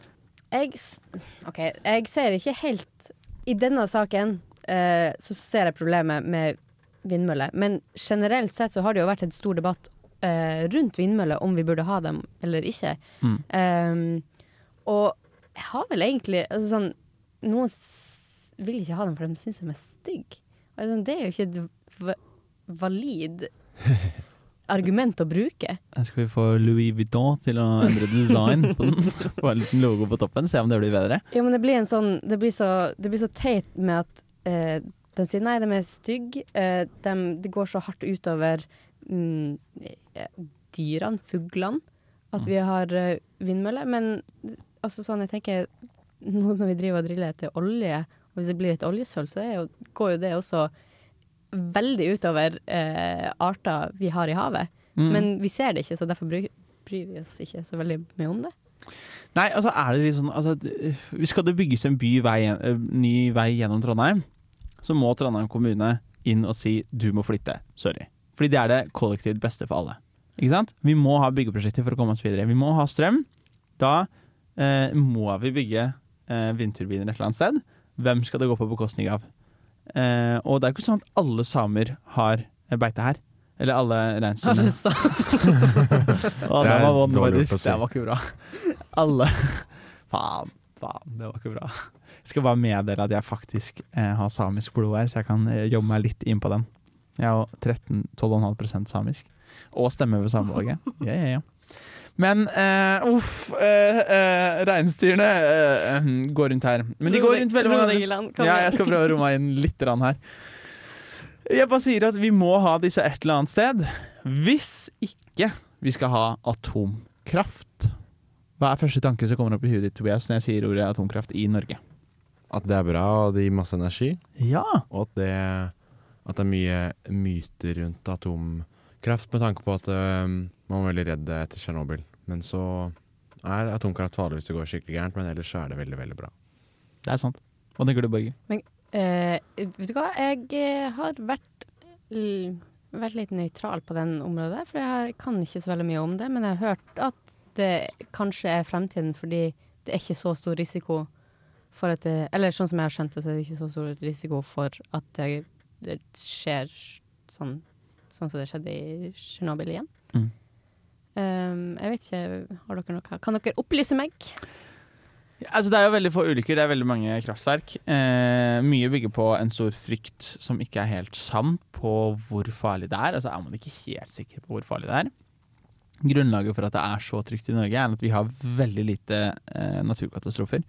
[SPEAKER 3] jeg s- OK, jeg ser ikke helt I denne saken eh, så ser jeg problemet med vindmøller. Men generelt sett så har det jo vært en stor debatt eh, rundt vindmøller, om vi burde ha dem eller ikke.
[SPEAKER 6] Mm.
[SPEAKER 3] Ehm, og jeg har vel egentlig altså sånn Noen s vil ikke ha dem, for de syns de er stygge. Altså, det er jo ikke et v valid argument å bruke.
[SPEAKER 6] Her Eh, skal vi få Louis Vuitton til å endre design på *laughs* den. Få en liten logo på toppen, se om det blir bedre.
[SPEAKER 3] Ja, men det blir en sånn Det blir så, det blir så teit med at eh, de sier nei, de er stygge. Eh, de, det går så hardt utover mm, eh, dyrene, fuglene, at
[SPEAKER 6] Mm.
[SPEAKER 3] vi har eh, vindmøller. Men altså sånn, jeg tenker nå når vi driver og driller etter olje, og hvis det blir et oljesøl, så er jo, går jo det også veldig utover eh, arter vi har i havet.
[SPEAKER 6] Mm.
[SPEAKER 3] Men vi ser det ikke, så derfor bryr, bryr vi oss ikke så veldig mye om det.
[SPEAKER 6] Nei, altså er det litt sånn altså, d- Skal det bygges en by vei, eh, ny vei gjennom Trondheim, så må Trondheim kommune inn og si du må flytte. Sorry. Fordi det er det kollektivt beste for alle. Ikke sant? Vi må ha byggeprosjekter for å komme oss videre. Vi må ha strøm. Da eh, må vi bygge eh, vindturbiner et eller annet sted. Hvem skal det gå på bekostning av? Eh, og det er ikke sånn at alle samer har eh, beite her. Eller alle
[SPEAKER 3] *laughs*
[SPEAKER 6] reinsdyr.
[SPEAKER 3] Alle sa
[SPEAKER 6] Å,
[SPEAKER 5] Det
[SPEAKER 6] det
[SPEAKER 5] er
[SPEAKER 6] var vond,
[SPEAKER 5] dårlig
[SPEAKER 6] faktisk.
[SPEAKER 5] gjort å si.
[SPEAKER 6] Det var ikke bra. *laughs* Alle Faen, faen, det var ikke bra. Jeg skal bare meddele at jeg faktisk eh, har samisk blod her, så jeg kan eh, jobbe meg litt inn på den. Jeg er jo 13 12,5 samisk. Og stemmer ved
[SPEAKER 5] *laughs*
[SPEAKER 6] samevalget. Ja, ja, ja. Men eh, uff, eh, eh, reinsdyrene eh, eh, går rundt her. Men de går rundt veldig
[SPEAKER 3] Ro
[SPEAKER 6] mange
[SPEAKER 3] deg i land, kom
[SPEAKER 6] ja,
[SPEAKER 3] igjen.
[SPEAKER 6] jeg skal prøve å romme meg inn litt grann her. Jeg bare sier at vi må ha disse et eller annet sted. Hvis ikke vi skal ha atomkraft. Hva er første tanke som kommer opp i huet ditt Tobias, når jeg sier ordet atomkraft i Norge?
[SPEAKER 5] At det er bra, og det gir masse energi.
[SPEAKER 6] Ja,
[SPEAKER 5] Og at det, at det er mye myter rundt atomkraft, med tanke på at øhm, man var veldig redd etter Tsjernobyl. Men så er atomkraft farlig hvis det går skikkelig gærent, men ellers så er det veldig, veldig bra.
[SPEAKER 6] det er sant. Hva tenker du, Borge?
[SPEAKER 3] Eh, vet du hva, jeg eh, har vært, l vært litt nøytral på den området, for jeg har, kan ikke så veldig mye om det. Men jeg har hørt at det kanskje er fremtiden, fordi det er ikke så stor risiko for at det Eller sånn som jeg har skjønt det, så er det ikke så stor risiko for at det, det skjer sånn, sånn som det skjedde i Tsjernobyl igjen.
[SPEAKER 6] Mm.
[SPEAKER 3] Eh, jeg vet ikke, har dere noe Kan dere opplyse meg?
[SPEAKER 6] Altså, det er jo veldig få ulykker, det er veldig mange kraftverk. Eh, mye bygger på en stor frykt som ikke er helt sann på hvor farlig det er. Altså er man ikke helt sikker på hvor farlig det er. Grunnlaget for at det er så trygt i Norge, er at vi har veldig lite eh, naturkatastrofer.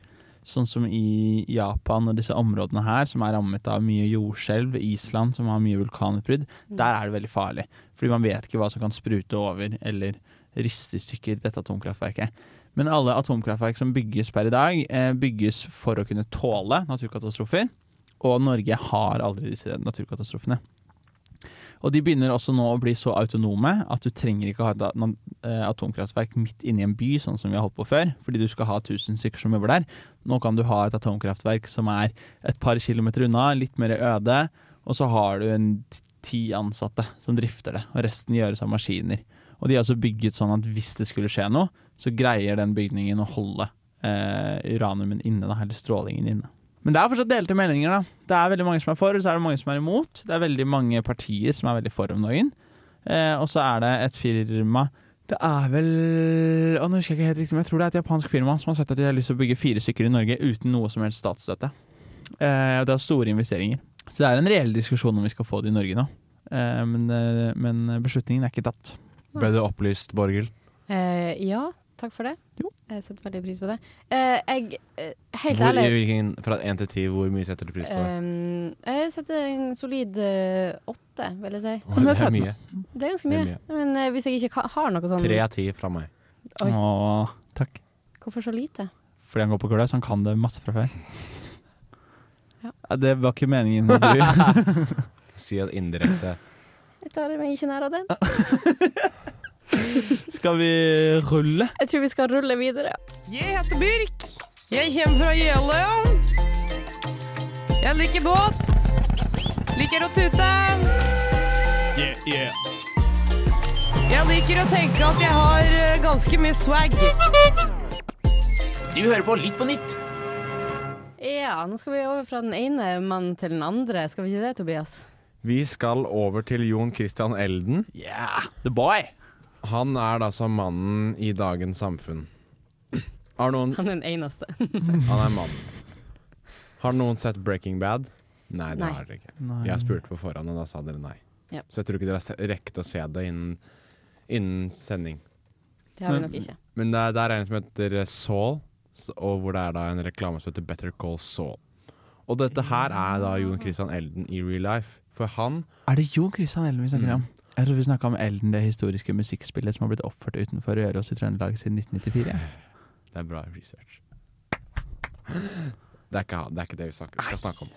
[SPEAKER 6] Sånn som i Japan og disse områdene her, som er rammet av mye jordskjelv. Island, som har mye vulkanutbrudd. Der er det veldig farlig. Fordi man vet ikke hva som kan sprute over eller riste i stykker dette atomkraftverket. Men alle atomkraftverk som bygges per i dag, eh, bygges for å kunne tåle naturkatastrofer. Og Norge har aldri disse naturkatastrofene. Og de begynner også nå å bli så autonome at du trenger ikke å ha et na- eh, atomkraftverk midt inne i en by, sånn som vi har holdt på før, fordi du skal ha 1000 stykker som jobber der. Nå kan du ha et atomkraftverk som er et par kilometer unna, litt mer øde, og så har du en t- ti ansatte som drifter det, og resten gjøres av maskiner. Og de er også bygget sånn at hvis det skulle skje noe, så greier den bygningen å holde eh, uraniumen inne, da, eller strålingen inne. Men det er fortsatt delte meninger. da. Det er veldig mange som er for, og så er det mange som er imot. Det er veldig mange partier som er veldig for om dagen. Eh, og så er det et firma Det er vel å, Nå husker jeg ikke helt riktig, men jeg tror det er et japansk firma som har sett at de har lyst til å bygge fire stykker i Norge uten noe som helst statsstøtte. Eh, og det er store investeringer. Så det er en reell diskusjon om vi skal få det i Norge nå. Eh, men, eh, men beslutningen er ikke tatt.
[SPEAKER 5] Ble du opplyst, Borghild?
[SPEAKER 3] Eh, ja, takk for det.
[SPEAKER 6] Jo.
[SPEAKER 3] Jeg setter veldig pris på det. Eh, jeg, eh, helt
[SPEAKER 5] Hvor- i
[SPEAKER 3] ærlig
[SPEAKER 5] hvilken- Fra én til ti, hvor mye setter du pris på det?
[SPEAKER 3] eh, Jeg setter en solid eh, åtte, vil jeg si.
[SPEAKER 5] Åh,
[SPEAKER 6] men
[SPEAKER 5] det
[SPEAKER 6] det
[SPEAKER 5] er
[SPEAKER 6] tar jeg
[SPEAKER 5] mye.
[SPEAKER 3] Det er ganske
[SPEAKER 5] Det
[SPEAKER 3] mye.
[SPEAKER 5] er
[SPEAKER 3] Men eh, hvis jeg ikke ka- har noe sånn
[SPEAKER 5] Tre av ti fra meg.
[SPEAKER 3] Oi.
[SPEAKER 6] Åh, takk.
[SPEAKER 3] Hvorfor så lite?
[SPEAKER 6] Fordi han går på gløs, han kan det masse fra før.
[SPEAKER 3] *laughs* Ja.
[SPEAKER 6] Ja, Det var ikke meningen. Du.
[SPEAKER 3] *laughs*
[SPEAKER 5] Si at indirekte
[SPEAKER 3] Jeg tar meg ikke nær av
[SPEAKER 5] Ah.
[SPEAKER 3] den.
[SPEAKER 6] *laughs* Skal vi rulle?
[SPEAKER 3] Jeg tror vi skal rulle videre.
[SPEAKER 1] Jeg heter Birk. Jeg kommer fra Jeløya. Jeg liker båt. Liker å tute. Jeg liker å tenke at jeg har eh, ganske mye swag.
[SPEAKER 2] Du hører på Litt på nytt.
[SPEAKER 3] Ja, nå skal vi over fra den ene mannen til den andre. Skal vi ikke det, Tobias?
[SPEAKER 5] Vi skal over til Jon Christian Elden.
[SPEAKER 6] Yeah, the boy!
[SPEAKER 5] Han er da som mannen i dagens samfunn. Har noen
[SPEAKER 3] Han er den eneste. *laughs*
[SPEAKER 5] Han er mann. Har noen sett Breaking Bad? Nei, det
[SPEAKER 3] Nei.
[SPEAKER 5] har dere ikke. Jeg spurte på forhånd, og da sa dere nei.
[SPEAKER 3] Ja.
[SPEAKER 5] Så jeg tror ikke dere har se- rekket å se det innen, innen sending.
[SPEAKER 3] Det har vi
[SPEAKER 6] Men-
[SPEAKER 3] nok ikke.
[SPEAKER 5] Men det er, der er en som heter eh, Saul, s- og hvor det er da en reklame som heter Better Call Saul. Og dette her er da Jon Christian Elden i real life. For han
[SPEAKER 6] Er det Jon Christian Elden vi snakker om? Mm. Jeg tror vi snakka om Elden, det historiske musikkspillet som har blitt oppført utenfor Røros i Trøndelag siden 1994.
[SPEAKER 5] Det er bra research. Det er ikke, han- det, er ikke det vi snakker, skal snakke om.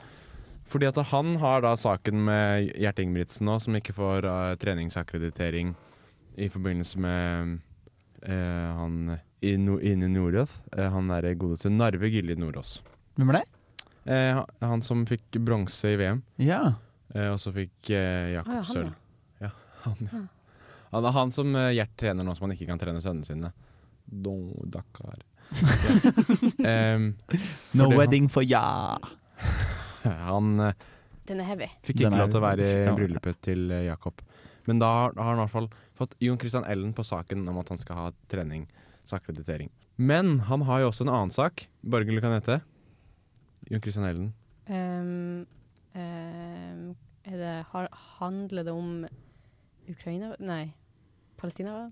[SPEAKER 5] Fordi at han har da saken med Gjert Ingebrigtsen nå, som ikke får eh, treningsakkreditering i forbindelse med eh, han i no, Ine Nordås. eh, han derre godeste Narve Gilje Nordås.
[SPEAKER 6] Hvem er det?
[SPEAKER 5] Eh, han- han som fikk bronse i VM,
[SPEAKER 6] Ja.
[SPEAKER 5] eh, og så fikk
[SPEAKER 3] Å,
[SPEAKER 5] eh,
[SPEAKER 3] ja,
[SPEAKER 5] Jakob
[SPEAKER 3] han, ja.
[SPEAKER 5] sølv. Ja, *laughs* han, ja. Han er han som eh, Gjert trener nå, som han ikke kan trene sønnene sine. Don Dakar.
[SPEAKER 3] *laughs*
[SPEAKER 5] Ja. Em,
[SPEAKER 6] No
[SPEAKER 5] Fordi han-
[SPEAKER 6] wedding for ja.
[SPEAKER 5] Han eh,
[SPEAKER 3] Den er heavy.
[SPEAKER 5] fikk
[SPEAKER 6] Den
[SPEAKER 5] ikke
[SPEAKER 6] er-
[SPEAKER 5] lov til å være i
[SPEAKER 6] ja.
[SPEAKER 5] bryllupet til eh, Jakob. Men da har har han i hvert fall fått Jon Christian Ellen på saken om at han skal ha treningsakkreditering. Men han har jo også en annen sak. Borgerlig kan hete. Jon Christian Ellen.
[SPEAKER 3] Ehm, ehm, er det, har, handler det om Ukraina? Nei, Palestina?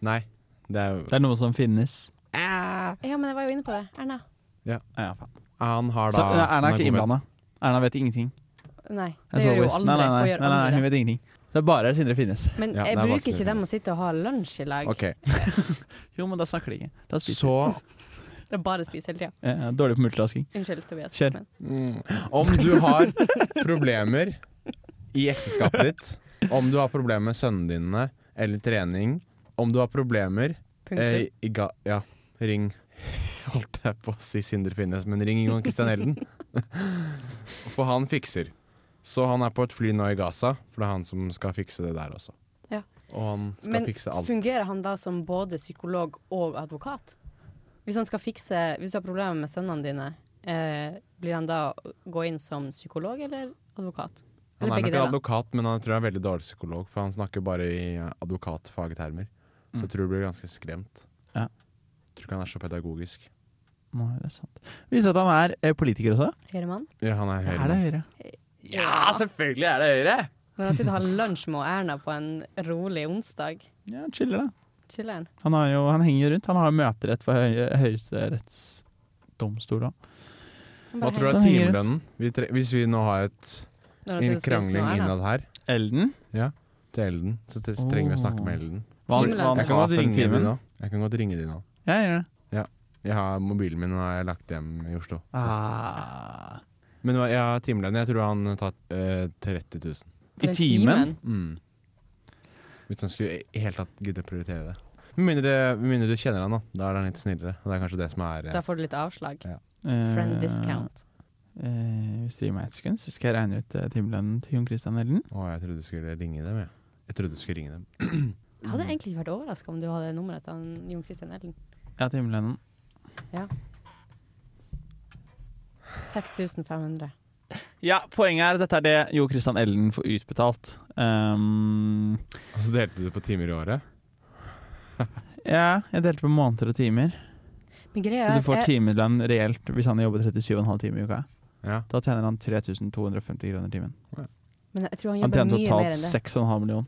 [SPEAKER 5] Nei, det er jo
[SPEAKER 6] Det er noe som finnes.
[SPEAKER 3] Ja, men jeg var jo inne på det. Erna.
[SPEAKER 6] Ja, faen.
[SPEAKER 5] Han har
[SPEAKER 6] Så
[SPEAKER 5] da
[SPEAKER 6] Erna er
[SPEAKER 5] narkovet-
[SPEAKER 6] ikke innblanda. Erna vet ingenting.
[SPEAKER 3] Nei,
[SPEAKER 6] As
[SPEAKER 3] det gjør jo
[SPEAKER 6] always.
[SPEAKER 3] aldri.
[SPEAKER 6] nei, nei,
[SPEAKER 3] og
[SPEAKER 6] nei,
[SPEAKER 3] gjør
[SPEAKER 6] nei, nei,
[SPEAKER 3] aldri
[SPEAKER 6] hun vet ingenting. Det er bare Sindre Finnes.
[SPEAKER 3] det. Men
[SPEAKER 5] Ja,
[SPEAKER 3] jeg
[SPEAKER 5] det er
[SPEAKER 3] bruker
[SPEAKER 5] vanskelig
[SPEAKER 3] ikke dem
[SPEAKER 5] å
[SPEAKER 3] å sitte og ha lunsj i lag.
[SPEAKER 5] Ok,
[SPEAKER 6] Jo, men da snakker de ikke. Da spiser
[SPEAKER 5] så
[SPEAKER 3] Det er bare å spise hele tida.
[SPEAKER 6] de. Eh, Dårlig på multitasking.
[SPEAKER 3] Unnskyld, Tobias.
[SPEAKER 6] Kjør.
[SPEAKER 3] men-
[SPEAKER 5] mm, Om du har problemer i ekteskapet ditt, om du har problemer med sønnene dine eller trening, om du har problemer
[SPEAKER 3] Punktum.
[SPEAKER 5] Eh, i ga ja, ring Holdt jeg på å si Sindre Finnes, men ring Jon Christian Elden. *laughs* For han fikser. Så han er på et fly nå i Gaza, for det er han som skal fikse det der også.
[SPEAKER 3] Ja.
[SPEAKER 5] Og han skal
[SPEAKER 3] Men
[SPEAKER 5] fikse alt.
[SPEAKER 3] fungerer han da som både psykolog og advokat? Hvis han skal fikse Hvis du har problemer med sønnene dine, eh, blir han da å gå inn som psykolog eller advokat?
[SPEAKER 5] Han
[SPEAKER 3] Eller begge
[SPEAKER 5] er nok en
[SPEAKER 3] deler?
[SPEAKER 5] advokat, men han tror jeg er veldig dårlig psykolog, for han snakker bare i eh, advokatfagtermer. Så Jeg tror du blir ganske skremt.
[SPEAKER 6] Ja.
[SPEAKER 5] Tror ikke han er så pedagogisk.
[SPEAKER 6] Nei, det er sant. Viser at han er eh, politiker også.
[SPEAKER 3] Høyremann?
[SPEAKER 5] Ja, han er
[SPEAKER 6] Er det
[SPEAKER 5] høyre.
[SPEAKER 6] Høyre?
[SPEAKER 3] Ja,
[SPEAKER 6] selvfølgelig er det Høyre!
[SPEAKER 3] Når han sitter og har lunsj med Erna på en rolig onsdag,
[SPEAKER 6] Ja, chiller, da.
[SPEAKER 3] chiller'n.
[SPEAKER 6] Han, har jo, han henger jo rundt. Han har jo møterett for høy, høyesterettsdomstol òg.
[SPEAKER 3] Han
[SPEAKER 5] Hva
[SPEAKER 3] bare
[SPEAKER 5] tror du
[SPEAKER 3] henger-
[SPEAKER 5] er
[SPEAKER 6] Sånn henger det ut.
[SPEAKER 5] timelønnen? Vi tre- Hvis vi nå har et,
[SPEAKER 3] Når han
[SPEAKER 5] en
[SPEAKER 3] sitter og spiser med
[SPEAKER 5] krangling
[SPEAKER 3] Erna.
[SPEAKER 5] innad her
[SPEAKER 6] Elden.
[SPEAKER 5] til Elden, så tre- trenger vi å snakke med Elden.
[SPEAKER 6] Hva han, hva
[SPEAKER 3] Timelønn.
[SPEAKER 6] han
[SPEAKER 5] Jeg kan
[SPEAKER 6] tar
[SPEAKER 5] godt
[SPEAKER 6] for en
[SPEAKER 5] ringe
[SPEAKER 6] time.
[SPEAKER 5] dem nå. Jeg kan godt ringe dem nå.
[SPEAKER 6] Ja, jeg gjør det.
[SPEAKER 5] Jeg har mobilen min og jeg har lagt hjem i Oslo. så.
[SPEAKER 6] Ah.
[SPEAKER 5] Men jeg har timelønn. Jeg tror han har tatt eh, 30 000.
[SPEAKER 3] For
[SPEAKER 6] I
[SPEAKER 3] en
[SPEAKER 6] timen?
[SPEAKER 5] Mm. Hvis han skulle i i hele tatt gidde å prioritere det. Med mindre, med mindre du kjenner han da. Da er han litt snillere. Og det er kanskje det som er eh,
[SPEAKER 3] Da får du litt avslag.
[SPEAKER 6] Eh,
[SPEAKER 3] Friend discount.
[SPEAKER 6] eh, hvis dere gir meg et sekund, så skal jeg regne ut eh, timelønnen til Jon Christian Elden.
[SPEAKER 5] Å, jeg trodde du skulle ringe dem, jeg. Jeg trodde du skulle ringe dem.
[SPEAKER 3] Jeg hadde egentlig ikke vært overraska om du hadde nummeret til han Jon Christian Ellen.
[SPEAKER 6] Ja, timelønnen.
[SPEAKER 3] Ja. 6500.
[SPEAKER 6] Ja, poenget er at dette er det Jo Christian Ellen får utbetalt. Um,
[SPEAKER 5] Og så delte du på timer i året?
[SPEAKER 6] ja, jeg delte på måneder og timer.
[SPEAKER 3] Men greia
[SPEAKER 6] Så
[SPEAKER 3] er
[SPEAKER 6] du får
[SPEAKER 3] at jeg,
[SPEAKER 6] timelønn reelt hvis han jobber 37,5 timer i uka.
[SPEAKER 5] Ja.
[SPEAKER 6] Da tjener han 3250 kroner timen.
[SPEAKER 3] men jeg tror han
[SPEAKER 6] Han
[SPEAKER 3] jobber
[SPEAKER 6] tjener
[SPEAKER 3] mye mer
[SPEAKER 6] totalt
[SPEAKER 3] enn det.
[SPEAKER 6] 6,5 millioner.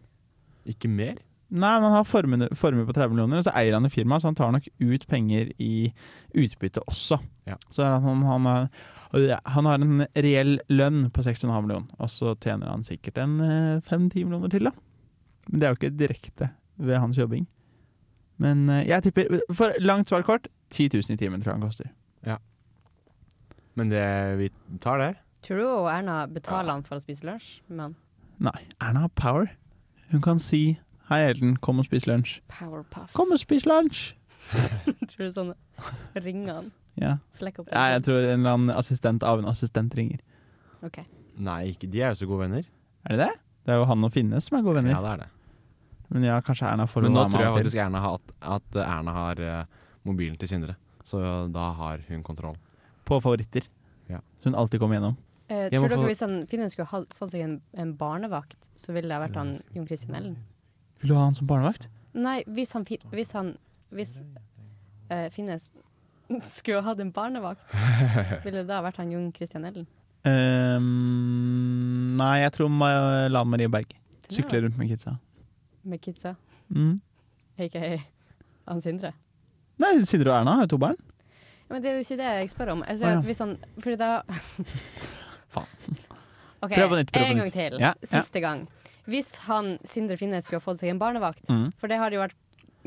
[SPEAKER 5] Ikke mer?
[SPEAKER 6] Nei, men han har formue, formue på 30 millioner, og så eier han et firma, så han tar nok ut penger i utbytte også.
[SPEAKER 5] Ja.
[SPEAKER 6] Så er han, han, er, og det- han har en reell lønn på 6,5 millioner, og så tjener han sikkert en 5-10 millioner til, da. Men det er jo ikke direkte ved hans jobbing. Men eh, jeg tipper, for langt svar kort, 10 000 i timen tror jeg han koster.
[SPEAKER 5] Men det, vi tar det.
[SPEAKER 3] Tror du Erna betaler han for å spise lunsj? Men
[SPEAKER 6] Nei, Erna har power. Hun kan si 'Hei, Elden, kom og spis lunsj'.
[SPEAKER 3] powerpuff.
[SPEAKER 6] Kom og spis lunsj!
[SPEAKER 3] *laughs* Tror du sånn ringer han?
[SPEAKER 6] Ja.
[SPEAKER 3] Flekker opp?
[SPEAKER 6] Nei, jeg tror en eller annen assistent av en assistent ringer.
[SPEAKER 3] Ok.
[SPEAKER 5] Nei, ikke. de er jo så gode venner.
[SPEAKER 6] Er det det? Det er jo han og Finne som er gode venner.
[SPEAKER 5] Ja, det er det.
[SPEAKER 6] Men ja, kanskje Erna får
[SPEAKER 5] Men nå
[SPEAKER 6] lov
[SPEAKER 5] tror
[SPEAKER 6] til å
[SPEAKER 5] jeg
[SPEAKER 6] være med av og til.
[SPEAKER 5] faktisk Erna har, at, at Erna har eh, mobilen til Sindre. Så da har hun kontroll.
[SPEAKER 6] På favoritter.
[SPEAKER 5] Ja.
[SPEAKER 6] Så hun alltid kommer gjennom.
[SPEAKER 3] Eh, tror
[SPEAKER 5] Jeg må
[SPEAKER 3] dere
[SPEAKER 5] få-
[SPEAKER 3] hvis han, Finnen skulle ha fått seg en, en barnevakt, så ville det ha vært han Jon Christian Ellen?
[SPEAKER 6] Vil du ha han som barnevakt?
[SPEAKER 3] Nei, hvis han, fi- hvis han Hvis eh, Finnes *laughs* skulle ha hatt en barnevakt,
[SPEAKER 6] *laughs*
[SPEAKER 3] ville det da ha vært han Jon Christian Ellen?
[SPEAKER 6] Ehm, nei, jeg tror Ma- Lan Marie Berg.
[SPEAKER 3] Den er
[SPEAKER 6] Sykler rundt med kidsa.
[SPEAKER 3] Med kidsa,
[SPEAKER 6] Mm.
[SPEAKER 3] *laughs* aka han Sindre?
[SPEAKER 6] Nei, Sindre og Erna har jo to barn.
[SPEAKER 3] Ja, Men det er jo ikke det jeg spør om. Altså,
[SPEAKER 6] Å, ja.
[SPEAKER 3] Hvis han Fordi da
[SPEAKER 6] *laughs* Faen.
[SPEAKER 3] *laughs* OK,
[SPEAKER 6] Prøv på nytt, prøv på
[SPEAKER 3] en gang
[SPEAKER 6] nytt.
[SPEAKER 3] til.
[SPEAKER 6] Ja, ja.
[SPEAKER 3] Siste gang. Hvis han Sindre Finnes skulle ha fått seg en barnevakt,
[SPEAKER 6] Mm.
[SPEAKER 3] for det har det jo vært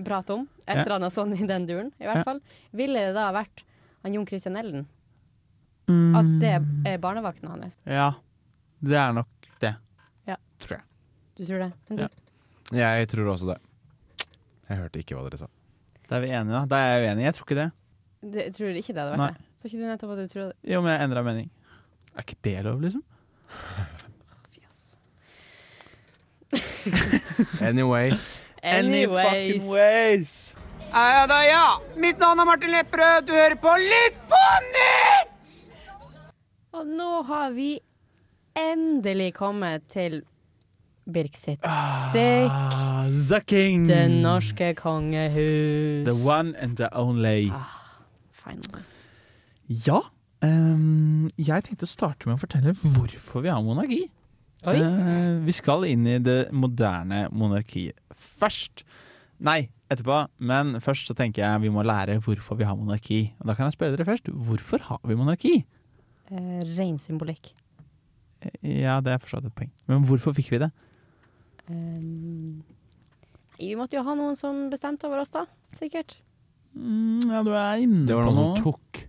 [SPEAKER 3] prat om, et eller annet sånn i den duren, i hvert
[SPEAKER 6] Ja.
[SPEAKER 3] fall, ville det da ha vært han Jon Christian Elden?
[SPEAKER 6] Mm.
[SPEAKER 3] At det er barnevakten hans?
[SPEAKER 6] Ja, det er nok det.
[SPEAKER 3] Du tror det? Men du,
[SPEAKER 6] Ja.
[SPEAKER 5] Jeg tror også det. Jeg hørte ikke hva dere sa.
[SPEAKER 6] Da er vi enige, da. Da er jeg uenig. Jeg tror ikke det.
[SPEAKER 3] det, tror ikke det hadde vært
[SPEAKER 6] Nei.
[SPEAKER 3] det? Sa ikke du nettopp at du tror det?
[SPEAKER 6] Jo, men jeg endra mening. Er ikke det lov, liksom?
[SPEAKER 3] Fjas.
[SPEAKER 5] Anyways.
[SPEAKER 3] Anyways.
[SPEAKER 6] ways!
[SPEAKER 4] Ja da, ja. Mitt navn er Martin Lepperød. Du hører på Lytt på nytt!
[SPEAKER 3] Og nå har vi endelig kommet til Birk sitt stikk.
[SPEAKER 6] Ah, the king!
[SPEAKER 3] Det norske kongehus.
[SPEAKER 6] The one and the only.
[SPEAKER 3] Finally.
[SPEAKER 6] Ah. Ja. ehm, jeg tenkte å starte med å fortelle hvorfor vi har monarki.
[SPEAKER 3] Oi.
[SPEAKER 6] Eh, vi skal inn i det moderne monarkiet først. Nei, etterpå. Men først så tenker jeg vi må lære hvorfor vi har monarki. Og da kan jeg spørre dere først. Hvorfor har vi monarki?
[SPEAKER 3] Eh, ren symbolikk.
[SPEAKER 6] Eh, Ja, det er for så vidt et poeng. Men hvorfor fikk vi det?
[SPEAKER 3] Um, nei, vi måtte jo ha noen som bestemte over oss, da. Sikkert.
[SPEAKER 6] Mm, ja, du er inne
[SPEAKER 5] *laughs* Det var
[SPEAKER 6] på
[SPEAKER 5] noen
[SPEAKER 6] noe.
[SPEAKER 5] som tok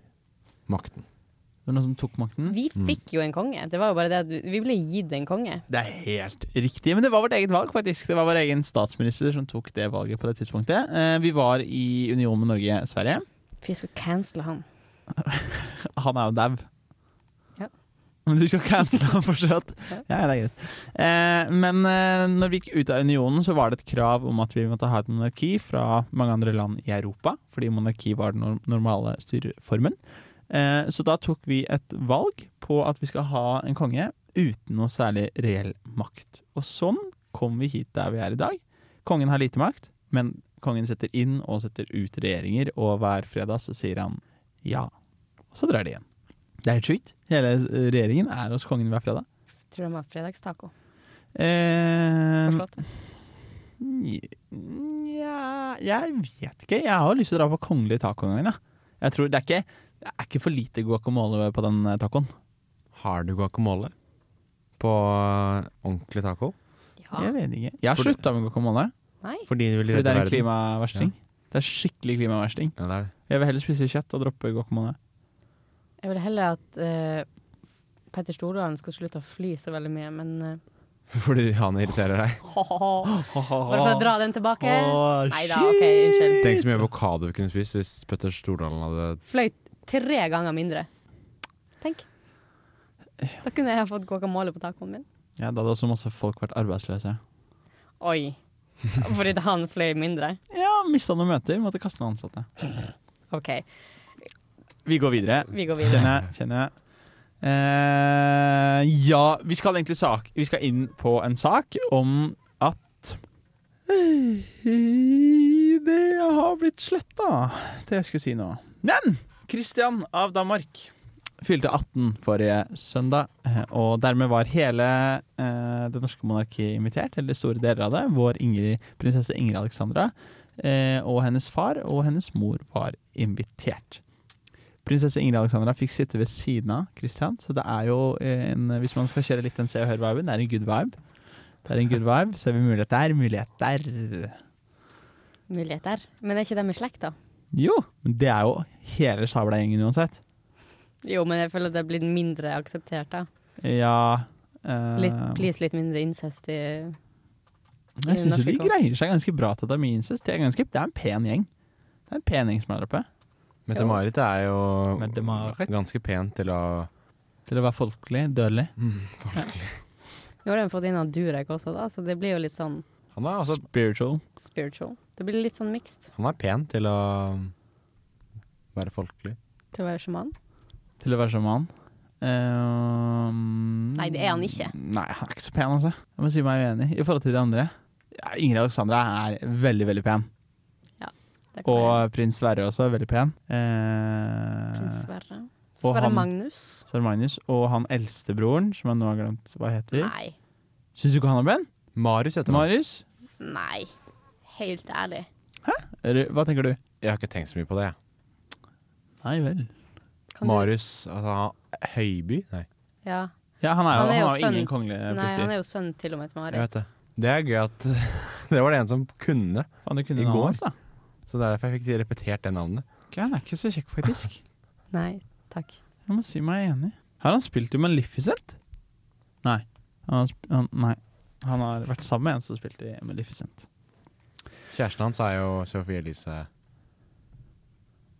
[SPEAKER 5] makten.
[SPEAKER 6] Det var noen som tok makten.
[SPEAKER 3] Vi fikk jo en konge. Det var jo bare det at vi- vi ble gitt en konge.
[SPEAKER 6] Det er helt riktig, men det var vårt eget valg, faktisk. Det var vår egen statsminister som tok det valget på det tidspunktet. Eh, Vi var i union med Norge, Sverige.
[SPEAKER 3] Vi skal cancele han.
[SPEAKER 6] Han er jo dau.
[SPEAKER 3] Ja.
[SPEAKER 6] Men du skal cancele han fortsatt?
[SPEAKER 3] *laughs* Ja.
[SPEAKER 6] Ja, det er greit. Eh, men eh, når vi gikk ut av unionen, så var det et krav om at vi måtte ha et monarki fra mange andre land i Europa, fordi monarki var den norm- normale styreformen. Eh, så da tok vi et valg på at vi skal ha en konge uten noe særlig reell makt. Og sånn kom vi hit der vi er i dag. Kongen har lite makt, men kongen setter inn og setter ut regjeringer, og hver fredag så sier han ja. Og så drar de igjen. Det er helt sjukt. Hele eh, regjeringen er hos kongen hver fredag.
[SPEAKER 3] Tror de har fredagstaco.
[SPEAKER 6] Eh,
[SPEAKER 3] på slottet.
[SPEAKER 6] Nja Jeg vet ikke. Jeg har lyst til å dra på kongelig taco en gang. da. Jeg tror det, er ikke, det er ikke for lite guacamole på den eh, tacoen.
[SPEAKER 5] Har du guacamole på eh, ordentlig taco?
[SPEAKER 3] Ja.
[SPEAKER 6] Jeg vet ikke. Jeg har
[SPEAKER 5] Fordi-
[SPEAKER 6] slutta med guacamole
[SPEAKER 3] Nei.
[SPEAKER 5] Fordi du vil
[SPEAKER 6] fordi
[SPEAKER 5] redde
[SPEAKER 6] det er en
[SPEAKER 5] verden?
[SPEAKER 6] klimaversting. Det er skikkelig klimaversting.
[SPEAKER 5] Ja, det er det.
[SPEAKER 6] Jeg vil heller spise kjøtt og droppe guacamole.
[SPEAKER 3] Jeg vil heller at eh, Petter Stordalen skal slutte å fly så veldig mye, men
[SPEAKER 6] *laughs*
[SPEAKER 3] eh,
[SPEAKER 5] *laughs* Fordi han irriterer *laughs* deg.
[SPEAKER 3] Bare for å dra den tilbake.
[SPEAKER 6] Åh,
[SPEAKER 3] Nei da, OK, unnskyld.
[SPEAKER 5] Tenk så mye avokado vi kunne spist hvis Petter Stordalen hadde
[SPEAKER 3] Fløy tre ganger mindre. Tenk. Da kunne jeg ha fått guacamole på tacoen min.
[SPEAKER 6] Ja, Da hadde også masse folk vært arbeidsløse.
[SPEAKER 3] Oi. Fordi han fløy mindre.
[SPEAKER 6] Ja, mista noen møter, måtte kaste noen ansatte.
[SPEAKER 3] OK.
[SPEAKER 6] Vi går videre.
[SPEAKER 3] Vi går videre.
[SPEAKER 6] Kjenner jeg. Kjenner jeg. Eh, ja, vi skal egentlig sak, vi skal inn på en sak om at Det har blitt sletta, det jeg skulle si nå. Men Christian av Danmark fylte 18 forrige søndag, eh, og dermed var hele eh, det norske monarkiet invitert, eller store deler av det. Vår Ingrid, prinsesse Ingrid Alexandra eh, og hennes far og hennes mor var invitert. Prinsesse Ingrid Alexandra fikk sitte ved siden av Christian, så det er jo eh, en Hvis man skal kjøre litt den Se og Hør-viben, det er en good vibe. Det er en good vibe. Ser vi mulighet der? Mulighet der.
[SPEAKER 3] Mulighet der. Men er ikke det med slekt, da?
[SPEAKER 6] Jo, men det er jo hele Sabla-gjengen uansett.
[SPEAKER 3] Jo, men jeg føler det er blitt mindre akseptert, da.
[SPEAKER 6] Ja eh,
[SPEAKER 3] Litt, please, litt mindre incest i
[SPEAKER 6] Jeg syns jo de
[SPEAKER 3] norske
[SPEAKER 6] greier seg ganske bra til at det er mye incest. Det er, ganske, det er en pen gjeng. Det er en pen gjeng som er der oppe.
[SPEAKER 5] Mette-Marit er
[SPEAKER 6] Mette-Marit.
[SPEAKER 5] jo ganske pent til å
[SPEAKER 6] Til å være folkelig, dødelig.
[SPEAKER 3] Nå har de fått inn han Durek også, da, så det blir jo litt sånn
[SPEAKER 5] Han
[SPEAKER 6] Mm.
[SPEAKER 5] er, altså,
[SPEAKER 6] Spiritual.
[SPEAKER 3] spiritual. Det blir litt sånn mixed
[SPEAKER 5] han er pen til å være folkelig.
[SPEAKER 3] til å være sjaman.
[SPEAKER 6] Til å være som han. Ehm,
[SPEAKER 3] Nei, det er han ikke.
[SPEAKER 6] Nei, han er ikke så pen, altså. Jeg må si meg uenig i forhold til de andre. Ja, Ingrid Alexandra er veldig, veldig pen.
[SPEAKER 3] Det kan være.
[SPEAKER 6] Og prins Sverre også er veldig pen. Eh,
[SPEAKER 3] Prins Sverre.
[SPEAKER 6] og
[SPEAKER 3] Sverre
[SPEAKER 6] han-
[SPEAKER 3] Magnus.
[SPEAKER 6] så er det Magnus. Og han eldstebroren, som jeg nå har glemt hva heter.
[SPEAKER 3] Nei.
[SPEAKER 6] Syns du ikke han er pen?
[SPEAKER 5] Marius heter han.
[SPEAKER 6] Marius?
[SPEAKER 3] Nei. Helt ærlig.
[SPEAKER 6] Er du- Hva tenker du?
[SPEAKER 5] Jeg har ikke tenkt så mye på det. jeg.
[SPEAKER 6] Nei vel.
[SPEAKER 3] Kan du-
[SPEAKER 5] Marius altså, han- Høiby? Nei,
[SPEAKER 3] Ja.
[SPEAKER 6] Ja, han, er jo, han,
[SPEAKER 3] Han er jo
[SPEAKER 6] har jo
[SPEAKER 3] sønn.
[SPEAKER 6] ingen kongelige
[SPEAKER 3] Nei, han
[SPEAKER 6] profil.
[SPEAKER 3] er jo sønnen til og med til
[SPEAKER 5] jeg
[SPEAKER 3] Mari.
[SPEAKER 5] vet det. Det er gøy at *laughs* det var det en som kunne,
[SPEAKER 6] Faen, du kunne
[SPEAKER 5] I
[SPEAKER 6] navnet
[SPEAKER 5] går.
[SPEAKER 6] hans, da.
[SPEAKER 5] så det er derfor jeg fikk repetert det navnet.
[SPEAKER 6] Ok, han er ikke så kjekk, faktisk.
[SPEAKER 3] Nei, takk.
[SPEAKER 6] Jeg må si meg enig. Har han spilt i Maleficent? Nei. Han har, sp han, nei. Han har vært sammen med en som spilte i Maleficent.
[SPEAKER 5] Kjæresten hans er jo Sophie Elise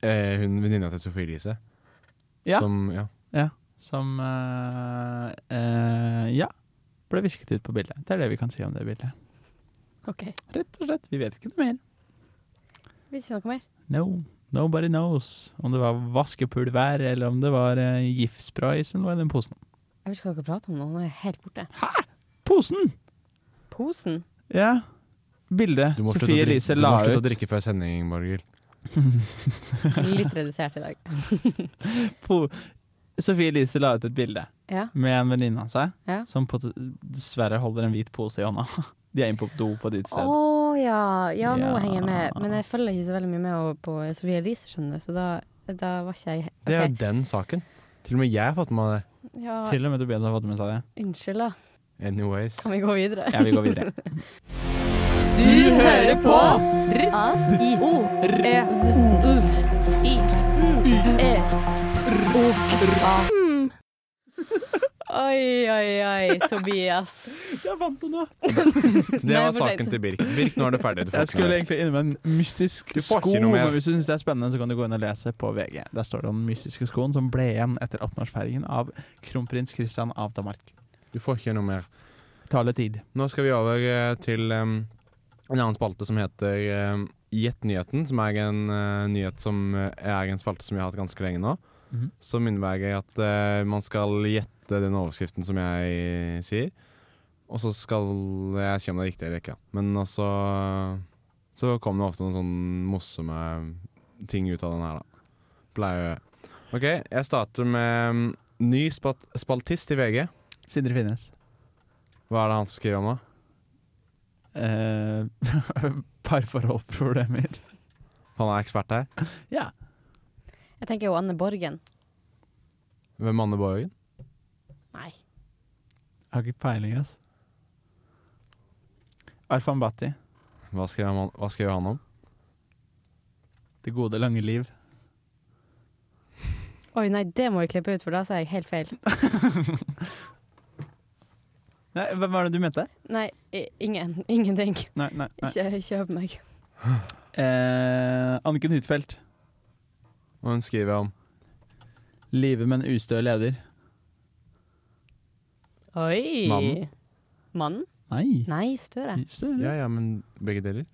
[SPEAKER 5] eh, Hun venninna til Sophie Elise.
[SPEAKER 6] Ja.
[SPEAKER 5] Som, ja.
[SPEAKER 6] Som eh, eh, Ja. Ble visket ut på bildet. Det er det vi kan si om det bildet.
[SPEAKER 3] OK.
[SPEAKER 6] Rett og slett. Vi vet ikke noe mer.
[SPEAKER 3] Vil ikke noe mer?
[SPEAKER 6] No. Nobody knows om det var vaskepulver eller om det var eh, giftspray som lå i den posen.
[SPEAKER 3] Jeg vet ikke hva dere prater om nå. Nå er jeg helt borte.
[SPEAKER 6] Posen!
[SPEAKER 3] Posen?
[SPEAKER 6] Ja. Bildet
[SPEAKER 5] Du må slutte å
[SPEAKER 6] Sofie
[SPEAKER 5] drikke-
[SPEAKER 6] Elise
[SPEAKER 5] du
[SPEAKER 6] la
[SPEAKER 5] må slutte å
[SPEAKER 6] ut.
[SPEAKER 5] drikke før sending, Borghild.
[SPEAKER 6] *laughs*
[SPEAKER 3] Litt redusert i dag.
[SPEAKER 6] Po Sofie Elise la ut et bilde
[SPEAKER 3] Ja.
[SPEAKER 6] med en venninne av seg,
[SPEAKER 3] Ja.
[SPEAKER 6] som på, dessverre holder en hvit pose i hånda. *laughs* De er inne på do på et
[SPEAKER 3] Å
[SPEAKER 6] utested.
[SPEAKER 3] ja. ja, nå
[SPEAKER 6] Ja.
[SPEAKER 3] henger jeg med. Men jeg følger ikke så veldig mye med over på Sofie Elise, skjønner du, så da, da var ikke jeg
[SPEAKER 5] Det er
[SPEAKER 3] Ok.
[SPEAKER 5] jo den saken. Til og med jeg har fått med meg det.
[SPEAKER 3] ja,
[SPEAKER 6] Til og med Tobias har fått med seg det.
[SPEAKER 3] Unnskyld, da.
[SPEAKER 6] *laughs*
[SPEAKER 5] Anyways.
[SPEAKER 3] Kan vi gå videre?
[SPEAKER 6] Ja, vi går videre.
[SPEAKER 1] Du hører på
[SPEAKER 3] Oi, oi, oi, Tobias.
[SPEAKER 6] Jeg fant det nå!
[SPEAKER 5] Det var
[SPEAKER 3] for sent.
[SPEAKER 5] saken til Birk. Birk, nå er det ferdig. Du får
[SPEAKER 6] Jeg
[SPEAKER 5] ikke noe
[SPEAKER 6] skulle
[SPEAKER 5] mer.
[SPEAKER 6] egentlig innom en mystisk
[SPEAKER 5] Du får
[SPEAKER 6] sko,
[SPEAKER 5] ikke noe mer.
[SPEAKER 6] men hvis du syns det er spennende, så kan du gå inn og lese på VG. Der står det om den mystiske skoen som ble igjen etter 18-årsfeiringen av kronprins Christian av Danmark.
[SPEAKER 5] Du får ikke noe mer.
[SPEAKER 6] Tar litt tid.
[SPEAKER 5] Nå skal vi over eh, til em, en annen spalte som heter um, Gjett nyheten, som er en eh, nyhet som eh, er en spalte som vi har hatt ganske lenge nå.
[SPEAKER 6] Mhm.
[SPEAKER 5] Som innebærer at eh, man skal gjette den overskriften som jeg sier. Og så skal jeg se om det er riktig eller ikke. Men altså Så kom det ofte noen sånn morsomme ting ut av den her, da. Pleier å OK, jeg starter med em, ny spat spaltist i VG.
[SPEAKER 6] Sindre Finnes.
[SPEAKER 5] Hva er det han som skriver om, da?
[SPEAKER 6] Eh, *laughs* Parforholdproblemer.
[SPEAKER 5] Han er ekspert her.
[SPEAKER 6] Ja.
[SPEAKER 3] Jeg tenker jo Anne Borgen.
[SPEAKER 5] Hvem Anne Borgen?
[SPEAKER 3] Nei.
[SPEAKER 6] Jeg har ikke peiling, ass. Arfan Bhatti.
[SPEAKER 5] Hva skrev han, hva skrev han om?
[SPEAKER 6] Det gode, lange liv.
[SPEAKER 3] Oi, nei, det må vi klippe ut, for da sa jeg helt feil.
[SPEAKER 6] Nei, hvem var det du mente?
[SPEAKER 3] Nei, i- ingen. Ingenting.
[SPEAKER 6] Nei, nei, nei.
[SPEAKER 3] Ikke kjøp meg.
[SPEAKER 6] Eh, Anniken Huitfeldt.
[SPEAKER 5] Og hun skriver om
[SPEAKER 6] Livet med en ustø leder.
[SPEAKER 3] Oi.
[SPEAKER 5] Mannen?
[SPEAKER 3] Mannen?
[SPEAKER 6] Nei.
[SPEAKER 3] Nei, Støre.
[SPEAKER 6] Ustø,
[SPEAKER 5] Ja, ja, men begge deler.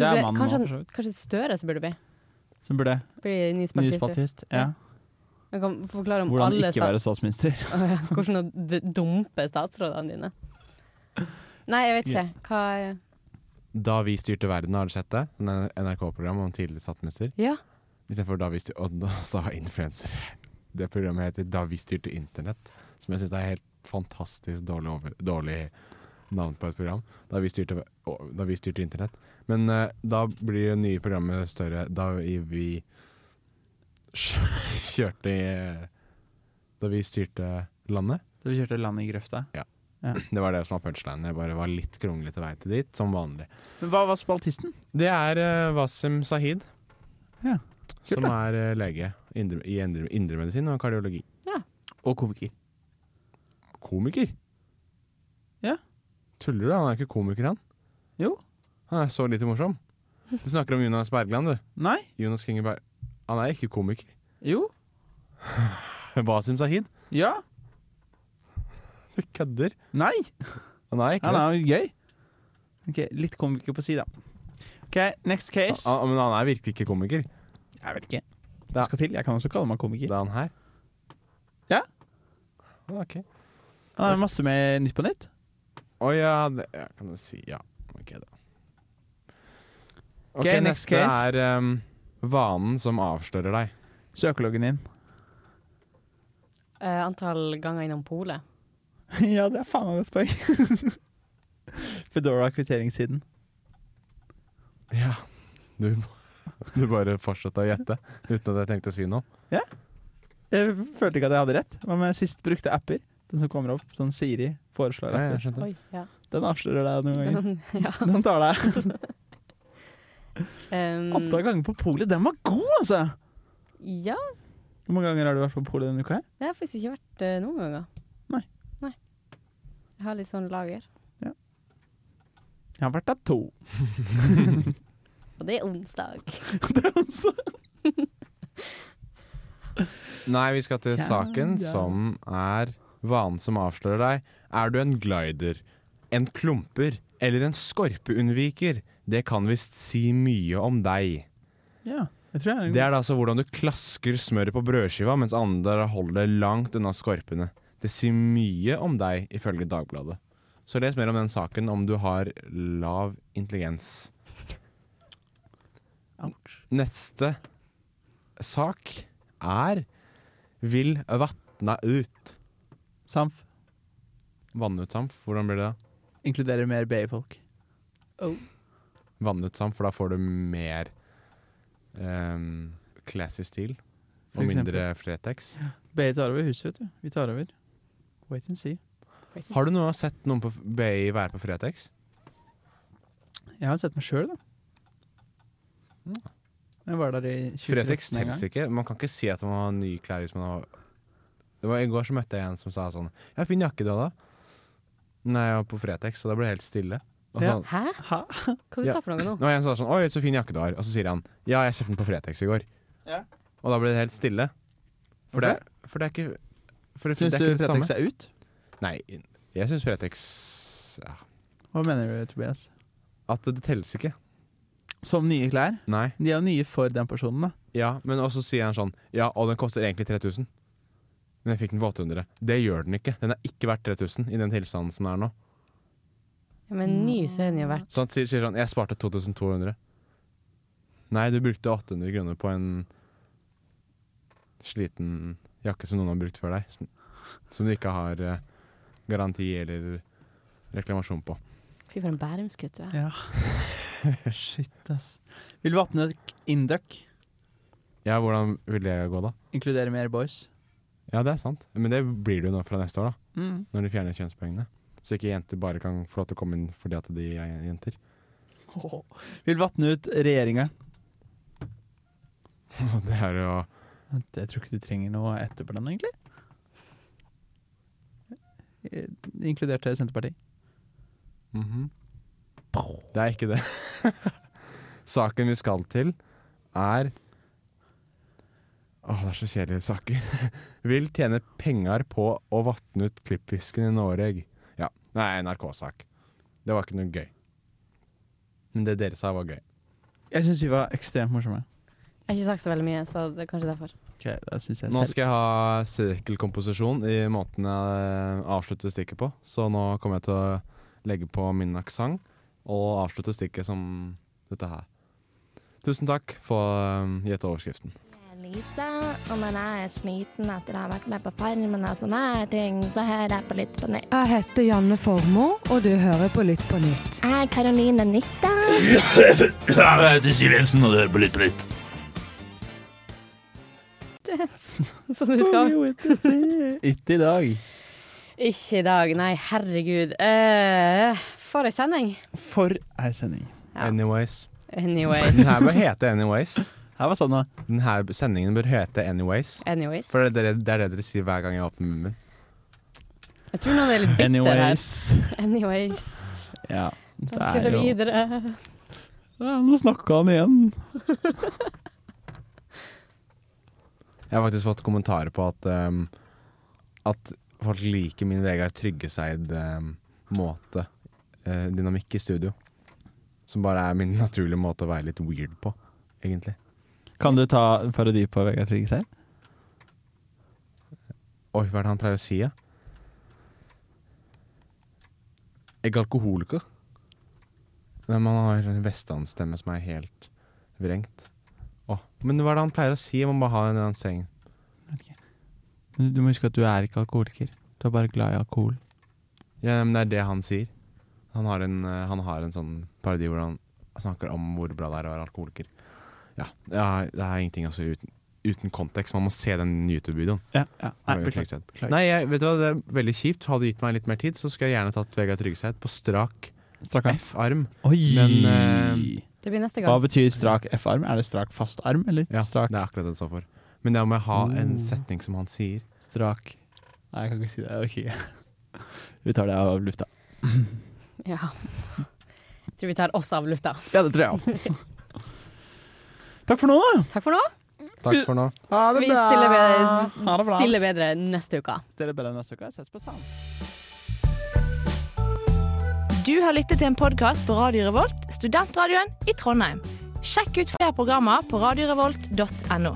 [SPEAKER 6] Mm. Det
[SPEAKER 3] det,
[SPEAKER 6] er
[SPEAKER 3] ble,
[SPEAKER 6] mannen nå,
[SPEAKER 3] kanskje,
[SPEAKER 6] for så vidt.
[SPEAKER 3] kanskje Støre som burde bli.
[SPEAKER 6] Som burde
[SPEAKER 3] Bli ny
[SPEAKER 6] Ny
[SPEAKER 3] spaltist.
[SPEAKER 6] spaltist. Ja.
[SPEAKER 3] Jeg kan forklare om
[SPEAKER 6] Hvordan
[SPEAKER 3] alle
[SPEAKER 6] ikke være statsminister. *laughs*
[SPEAKER 3] stat Hvordan å d- dumpe statsrådene dine. Nei, jeg vet ikke. Hva
[SPEAKER 5] Da vi styrte verden, har du sett det? Sånn NRK-program om tidligere statsminister.
[SPEAKER 3] Ja.
[SPEAKER 5] Istedenfor da vi styrte Og *laughs* da sa influenser Det programmet heter Da vi styrte internett. Som jeg syns er helt fantastisk dårlig, over, dårlig navn på et program. Da vi styrte, å, da vi styrte internett. Men eh, da blir det nye programmet større da vi, vi *laughs* kjørte i eh, Da vi styrte landet.
[SPEAKER 6] Da vi kjørte landet i grøfta.
[SPEAKER 5] Det var det som var punchline. Jeg bare var litt kronglete vei til dit, som vanlig.
[SPEAKER 6] Men hva var spaltisten?
[SPEAKER 5] Det er eh, Wasim Sahid,
[SPEAKER 6] Ja.
[SPEAKER 5] som er eh, lege indre, i indre- indremedisin og kardiologi.
[SPEAKER 6] Og komiker.
[SPEAKER 5] Komiker?
[SPEAKER 6] Ja.
[SPEAKER 5] Tuller du? Han er ikke komiker, han.
[SPEAKER 6] Jo.
[SPEAKER 5] Han er så lite morsom. Du snakker om Jonas Bergland, du.
[SPEAKER 6] Nei.
[SPEAKER 5] Jonas Kinge Berg... Han er ikke komiker. *laughs*
[SPEAKER 6] Jo.
[SPEAKER 5] Wasim Sahid?
[SPEAKER 6] Ja.
[SPEAKER 5] Du kødder.
[SPEAKER 6] Nei.
[SPEAKER 5] Han er ikke
[SPEAKER 6] Han
[SPEAKER 5] det.
[SPEAKER 6] er jo gøy. Ok, Litt komiker på si, da. Ok, Next case.
[SPEAKER 5] Han- han- Ah, men han er virkelig ikke komiker.
[SPEAKER 6] Jeg vet ikke.
[SPEAKER 5] Da-
[SPEAKER 6] Det skal til. Jeg kan også kalle meg komiker.
[SPEAKER 5] Det er han her. Ah,
[SPEAKER 6] Ja.
[SPEAKER 5] Ok.
[SPEAKER 6] Han har masse med Nytt på nytt.
[SPEAKER 5] Å ja, det ja, kan du si. Ja, ok da.
[SPEAKER 6] Ok,
[SPEAKER 5] Ok,
[SPEAKER 6] next
[SPEAKER 5] neste
[SPEAKER 6] case.
[SPEAKER 5] er um, vanen som avslører deg.
[SPEAKER 6] Søkeloggen din.
[SPEAKER 3] eh, antall ganger innom polet.
[SPEAKER 6] *laughs* ja, det er faen meg godt poeng. *laughs* Fedora kvitteringssiden.
[SPEAKER 5] Ja, du, du bare fortsatte å gjette uten at jeg tenkte å si noe.
[SPEAKER 6] Jeg følte ikke at jeg hadde rett. Hva med sist brukte apper? Den som kommer opp, sånn Siri foreslår
[SPEAKER 5] Ja, jeg
[SPEAKER 6] apper.
[SPEAKER 5] skjønte.
[SPEAKER 3] Oi, ja.
[SPEAKER 6] Den avslører deg noen ganger.
[SPEAKER 3] ja.
[SPEAKER 6] Den tar deg
[SPEAKER 3] Um,
[SPEAKER 6] antall ganger på polet. Den var god, altså!
[SPEAKER 3] ja.
[SPEAKER 6] Hvor mange ganger har du vært på polet denne uka her?
[SPEAKER 3] Det har jeg faktisk ikke vært eh, noen ganger.
[SPEAKER 6] Nei.
[SPEAKER 3] Nei. Jeg har litt sånn lager.
[SPEAKER 6] Jeg har vært der to. *laughs*
[SPEAKER 3] Og det er onsdag.
[SPEAKER 6] Det er altså-
[SPEAKER 5] Nei, vi skal til
[SPEAKER 6] Ja,
[SPEAKER 5] saken
[SPEAKER 6] ja.
[SPEAKER 5] som er vanen som avslører deg. Er du en glider, en klumper eller en skorpeunnviker? Det kan visst si mye om deg.
[SPEAKER 6] ja, jeg tror jeg
[SPEAKER 5] Det er da altså hvordan du klasker smøret på brødskiva mens andre holder det langt unna skorpene. Det sier mye om deg, ifølge Dagbladet. Så les mer om den saken om du har lav intelligens.
[SPEAKER 6] Ouch.
[SPEAKER 5] Neste sak er Vil vatna ut.
[SPEAKER 6] Samf
[SPEAKER 5] Vanne ut samf, hvordan blir det da?
[SPEAKER 6] inkluderer mer BI-folk.
[SPEAKER 5] Vanne ut samf, for da får du mer ehm, classy stil.
[SPEAKER 6] For
[SPEAKER 5] Og
[SPEAKER 6] eksempel.
[SPEAKER 5] mindre Fretex.
[SPEAKER 6] BI tar over huset, vet du. Vi tar over. Wait and see.
[SPEAKER 5] Har du noe sett noen på BI være på Fretex?
[SPEAKER 6] Jeg har sett meg sjøl, da. Jeg var der i 2013
[SPEAKER 5] Fretex
[SPEAKER 6] en gang.
[SPEAKER 5] telles ikke. Man kan ikke si at man har nye klær hvis man har Det var I går så møtte jeg en som sa sånn 'Ja, fin jakke du hadde'. Nei, jeg var på Fretex, og da ble jeg helt stille. Og
[SPEAKER 6] Ja.
[SPEAKER 5] så,
[SPEAKER 3] Hæ?
[SPEAKER 6] Hæ?
[SPEAKER 3] Hva du
[SPEAKER 5] Ja.
[SPEAKER 3] sa for noe nå?
[SPEAKER 5] Nå er jeg en som sa sånn 'Oi, så fin jakke du har', og så sier han 'Ja, jeg kjøpte den på Fretex i går'.
[SPEAKER 6] Ja.
[SPEAKER 5] Og da ble det helt stille. For det, for det er ikke For det,
[SPEAKER 6] Syns
[SPEAKER 5] det
[SPEAKER 6] du
[SPEAKER 5] er ikke det
[SPEAKER 6] Fretex
[SPEAKER 5] samme.
[SPEAKER 6] er ut?
[SPEAKER 5] Nei, jeg syns Fretex ja,
[SPEAKER 6] Hva mener du, Tobias?
[SPEAKER 5] At det, det telles ikke.
[SPEAKER 6] Som nye klær?
[SPEAKER 5] Nei.
[SPEAKER 6] De er jo nye for den personen, da.
[SPEAKER 5] Ja, men også sier han sånn Ja, og den koster egentlig 3000 Men jeg fikk den for 800 Det gjør den ikke Den er ikke verdt 3000 i den tilstanden som den er nå
[SPEAKER 3] Ja, men ny så har den jo vært
[SPEAKER 5] Så han sier, sier sånn Jeg sparte 2200 Nei, du brukte 800 kroner på en Sliten jakke som noen har brukt før deg Som, som du ikke har eh, garanti eller reklamasjon på
[SPEAKER 3] Fy for en bærumsgutt du er.
[SPEAKER 6] Ja. Shit, ass. Vil vatne induck
[SPEAKER 5] Ja, hvordan vil det gå da?
[SPEAKER 6] inkludere mer boys?
[SPEAKER 5] Ja, det er sant Men det blir det jo nå fra neste år da
[SPEAKER 6] Mm.
[SPEAKER 5] Når de fjerner kjønnspoengene Så ikke jenter bare kan få lov til å komme inn fordi at de er jenter
[SPEAKER 6] *laughs* Vil vatne ut regjeringa?
[SPEAKER 5] Og det er jo
[SPEAKER 6] Jeg tror ikke du trenger noe etterpå den, egentlig. Eh, Inkludert Senterpartiet.
[SPEAKER 5] Mhm. Det er ikke det. *laughs* Saken vi skal til, er Åh, det er så kjedelige saker. *laughs* Vil tjene penger på å vatne ut klippfisken i Norge. Ja. Nei, NRK-sak. Det var ikke noe gøy. Men det dere sa, var gøy.
[SPEAKER 6] Jeg syns vi var ekstremt morsomme.
[SPEAKER 3] Jeg har ikke sagt så veldig mye, så det er kanskje derfor.
[SPEAKER 6] Ok, da synes jeg
[SPEAKER 5] Nå
[SPEAKER 6] selv
[SPEAKER 5] skal jeg ha sirkelkomposisjon i måten jeg eh, avslutter stikket på. Så nå kommer jeg til å legge på min aksent og avslutte stikket som dette her. Tusen takk for um, gjett overskriften.
[SPEAKER 8] Lisa, og når jeg er sliten etter å ha vært med på Farmen og sånne her ting, så hører jeg på Lytt på nytt.
[SPEAKER 9] Jeg heter Janne Formoe, og du hører på Lytt på nytt.
[SPEAKER 8] Jeg er Karoline Nytta.
[SPEAKER 3] *laughs* Som du skal.
[SPEAKER 6] Ikke i dag.
[SPEAKER 3] Ikke i dag, nei, herregud. Eh, for ei sending.
[SPEAKER 6] For ei sending.
[SPEAKER 3] Ja. *laughs*
[SPEAKER 5] Anyways. Den
[SPEAKER 3] Anyways.
[SPEAKER 5] her bør hete Anyways.
[SPEAKER 6] Her var sånn, da.
[SPEAKER 5] Den her sendingen bør hete Anyways.
[SPEAKER 3] Anyways.
[SPEAKER 5] For det er det, det er det dere sier hver gang jeg åpner munnen min.
[SPEAKER 3] Jeg tror noen er litt bitter
[SPEAKER 6] Anyways.
[SPEAKER 3] her. Anyways.
[SPEAKER 6] Ja. Det er
[SPEAKER 3] Da kjører vi
[SPEAKER 6] jo
[SPEAKER 3] videre.
[SPEAKER 6] ja, Nå snakka han igjen.
[SPEAKER 5] Jeg har faktisk fått kommentarer på at um, At folk liker min Vegard Tryggeseid um, måte eh, Dynamikk i studio. Som bare er min naturlige måte å være litt weird på, egentlig.
[SPEAKER 6] Kan du ta en parodi på Vegard Trygges her?
[SPEAKER 5] Oi, hva er det han pleier å si, ja? Jeg er alkoholiker. Nei, man har en vestlandsstemme som er helt vrengt. Å, men hva er det han pleier å si? Jeg må bare ha en annen streng.
[SPEAKER 6] Du må huske at du er ikke alkoholiker. Du er bare glad i alkohol.
[SPEAKER 5] Ja, men det er det han sier. Han har en, eh, han har en sånn parodi hvor han snakker om hvor bra det er å være alkoholiker. Ja, ja det er ingenting altså, uten, uten kontekst. Man må se den YouTube-videoen.
[SPEAKER 6] Ja, ja. Nei,
[SPEAKER 5] Vegard
[SPEAKER 6] beklager.
[SPEAKER 5] Tryggeseid. Nei, jeg, vet du hva, det er veldig kjipt. Hadde gitt meg litt mer tid, så skulle jeg gjerne tatt Vegard Tryggeseid på strak
[SPEAKER 6] Strakk arm. eh,
[SPEAKER 5] F-arm.
[SPEAKER 6] Oi!
[SPEAKER 5] Men,
[SPEAKER 3] Det blir neste
[SPEAKER 6] Hva
[SPEAKER 3] gang.
[SPEAKER 6] betyr strak F-arm? Er det strak fast arm, eller?
[SPEAKER 5] Ja,
[SPEAKER 6] strak,
[SPEAKER 5] det er akkurat det det står for. Men da må jeg ha en
[SPEAKER 6] Oh.
[SPEAKER 5] setning som han sier.
[SPEAKER 6] strak Nei, jeg kan ikke si det. Ok. *laughs* Vi tar det av lufta.
[SPEAKER 3] Ja. Jeg tror vi tar oss av lufta.
[SPEAKER 6] Ja, det tror jeg òg. Takk for nå, da.
[SPEAKER 3] Takk for nå.
[SPEAKER 5] Takk for nå.
[SPEAKER 6] Ha
[SPEAKER 3] Vi stiller
[SPEAKER 6] Ha det
[SPEAKER 3] bedre,
[SPEAKER 6] bra.
[SPEAKER 3] stiller bedre neste uke.
[SPEAKER 6] Stiller bedre neste uke. Ses på sammen.
[SPEAKER 10] Du har lyttet til en podkast på Radio Revolt, studentradioen i Trondheim. Sjekk ut flere programmer på radiorevolt.no.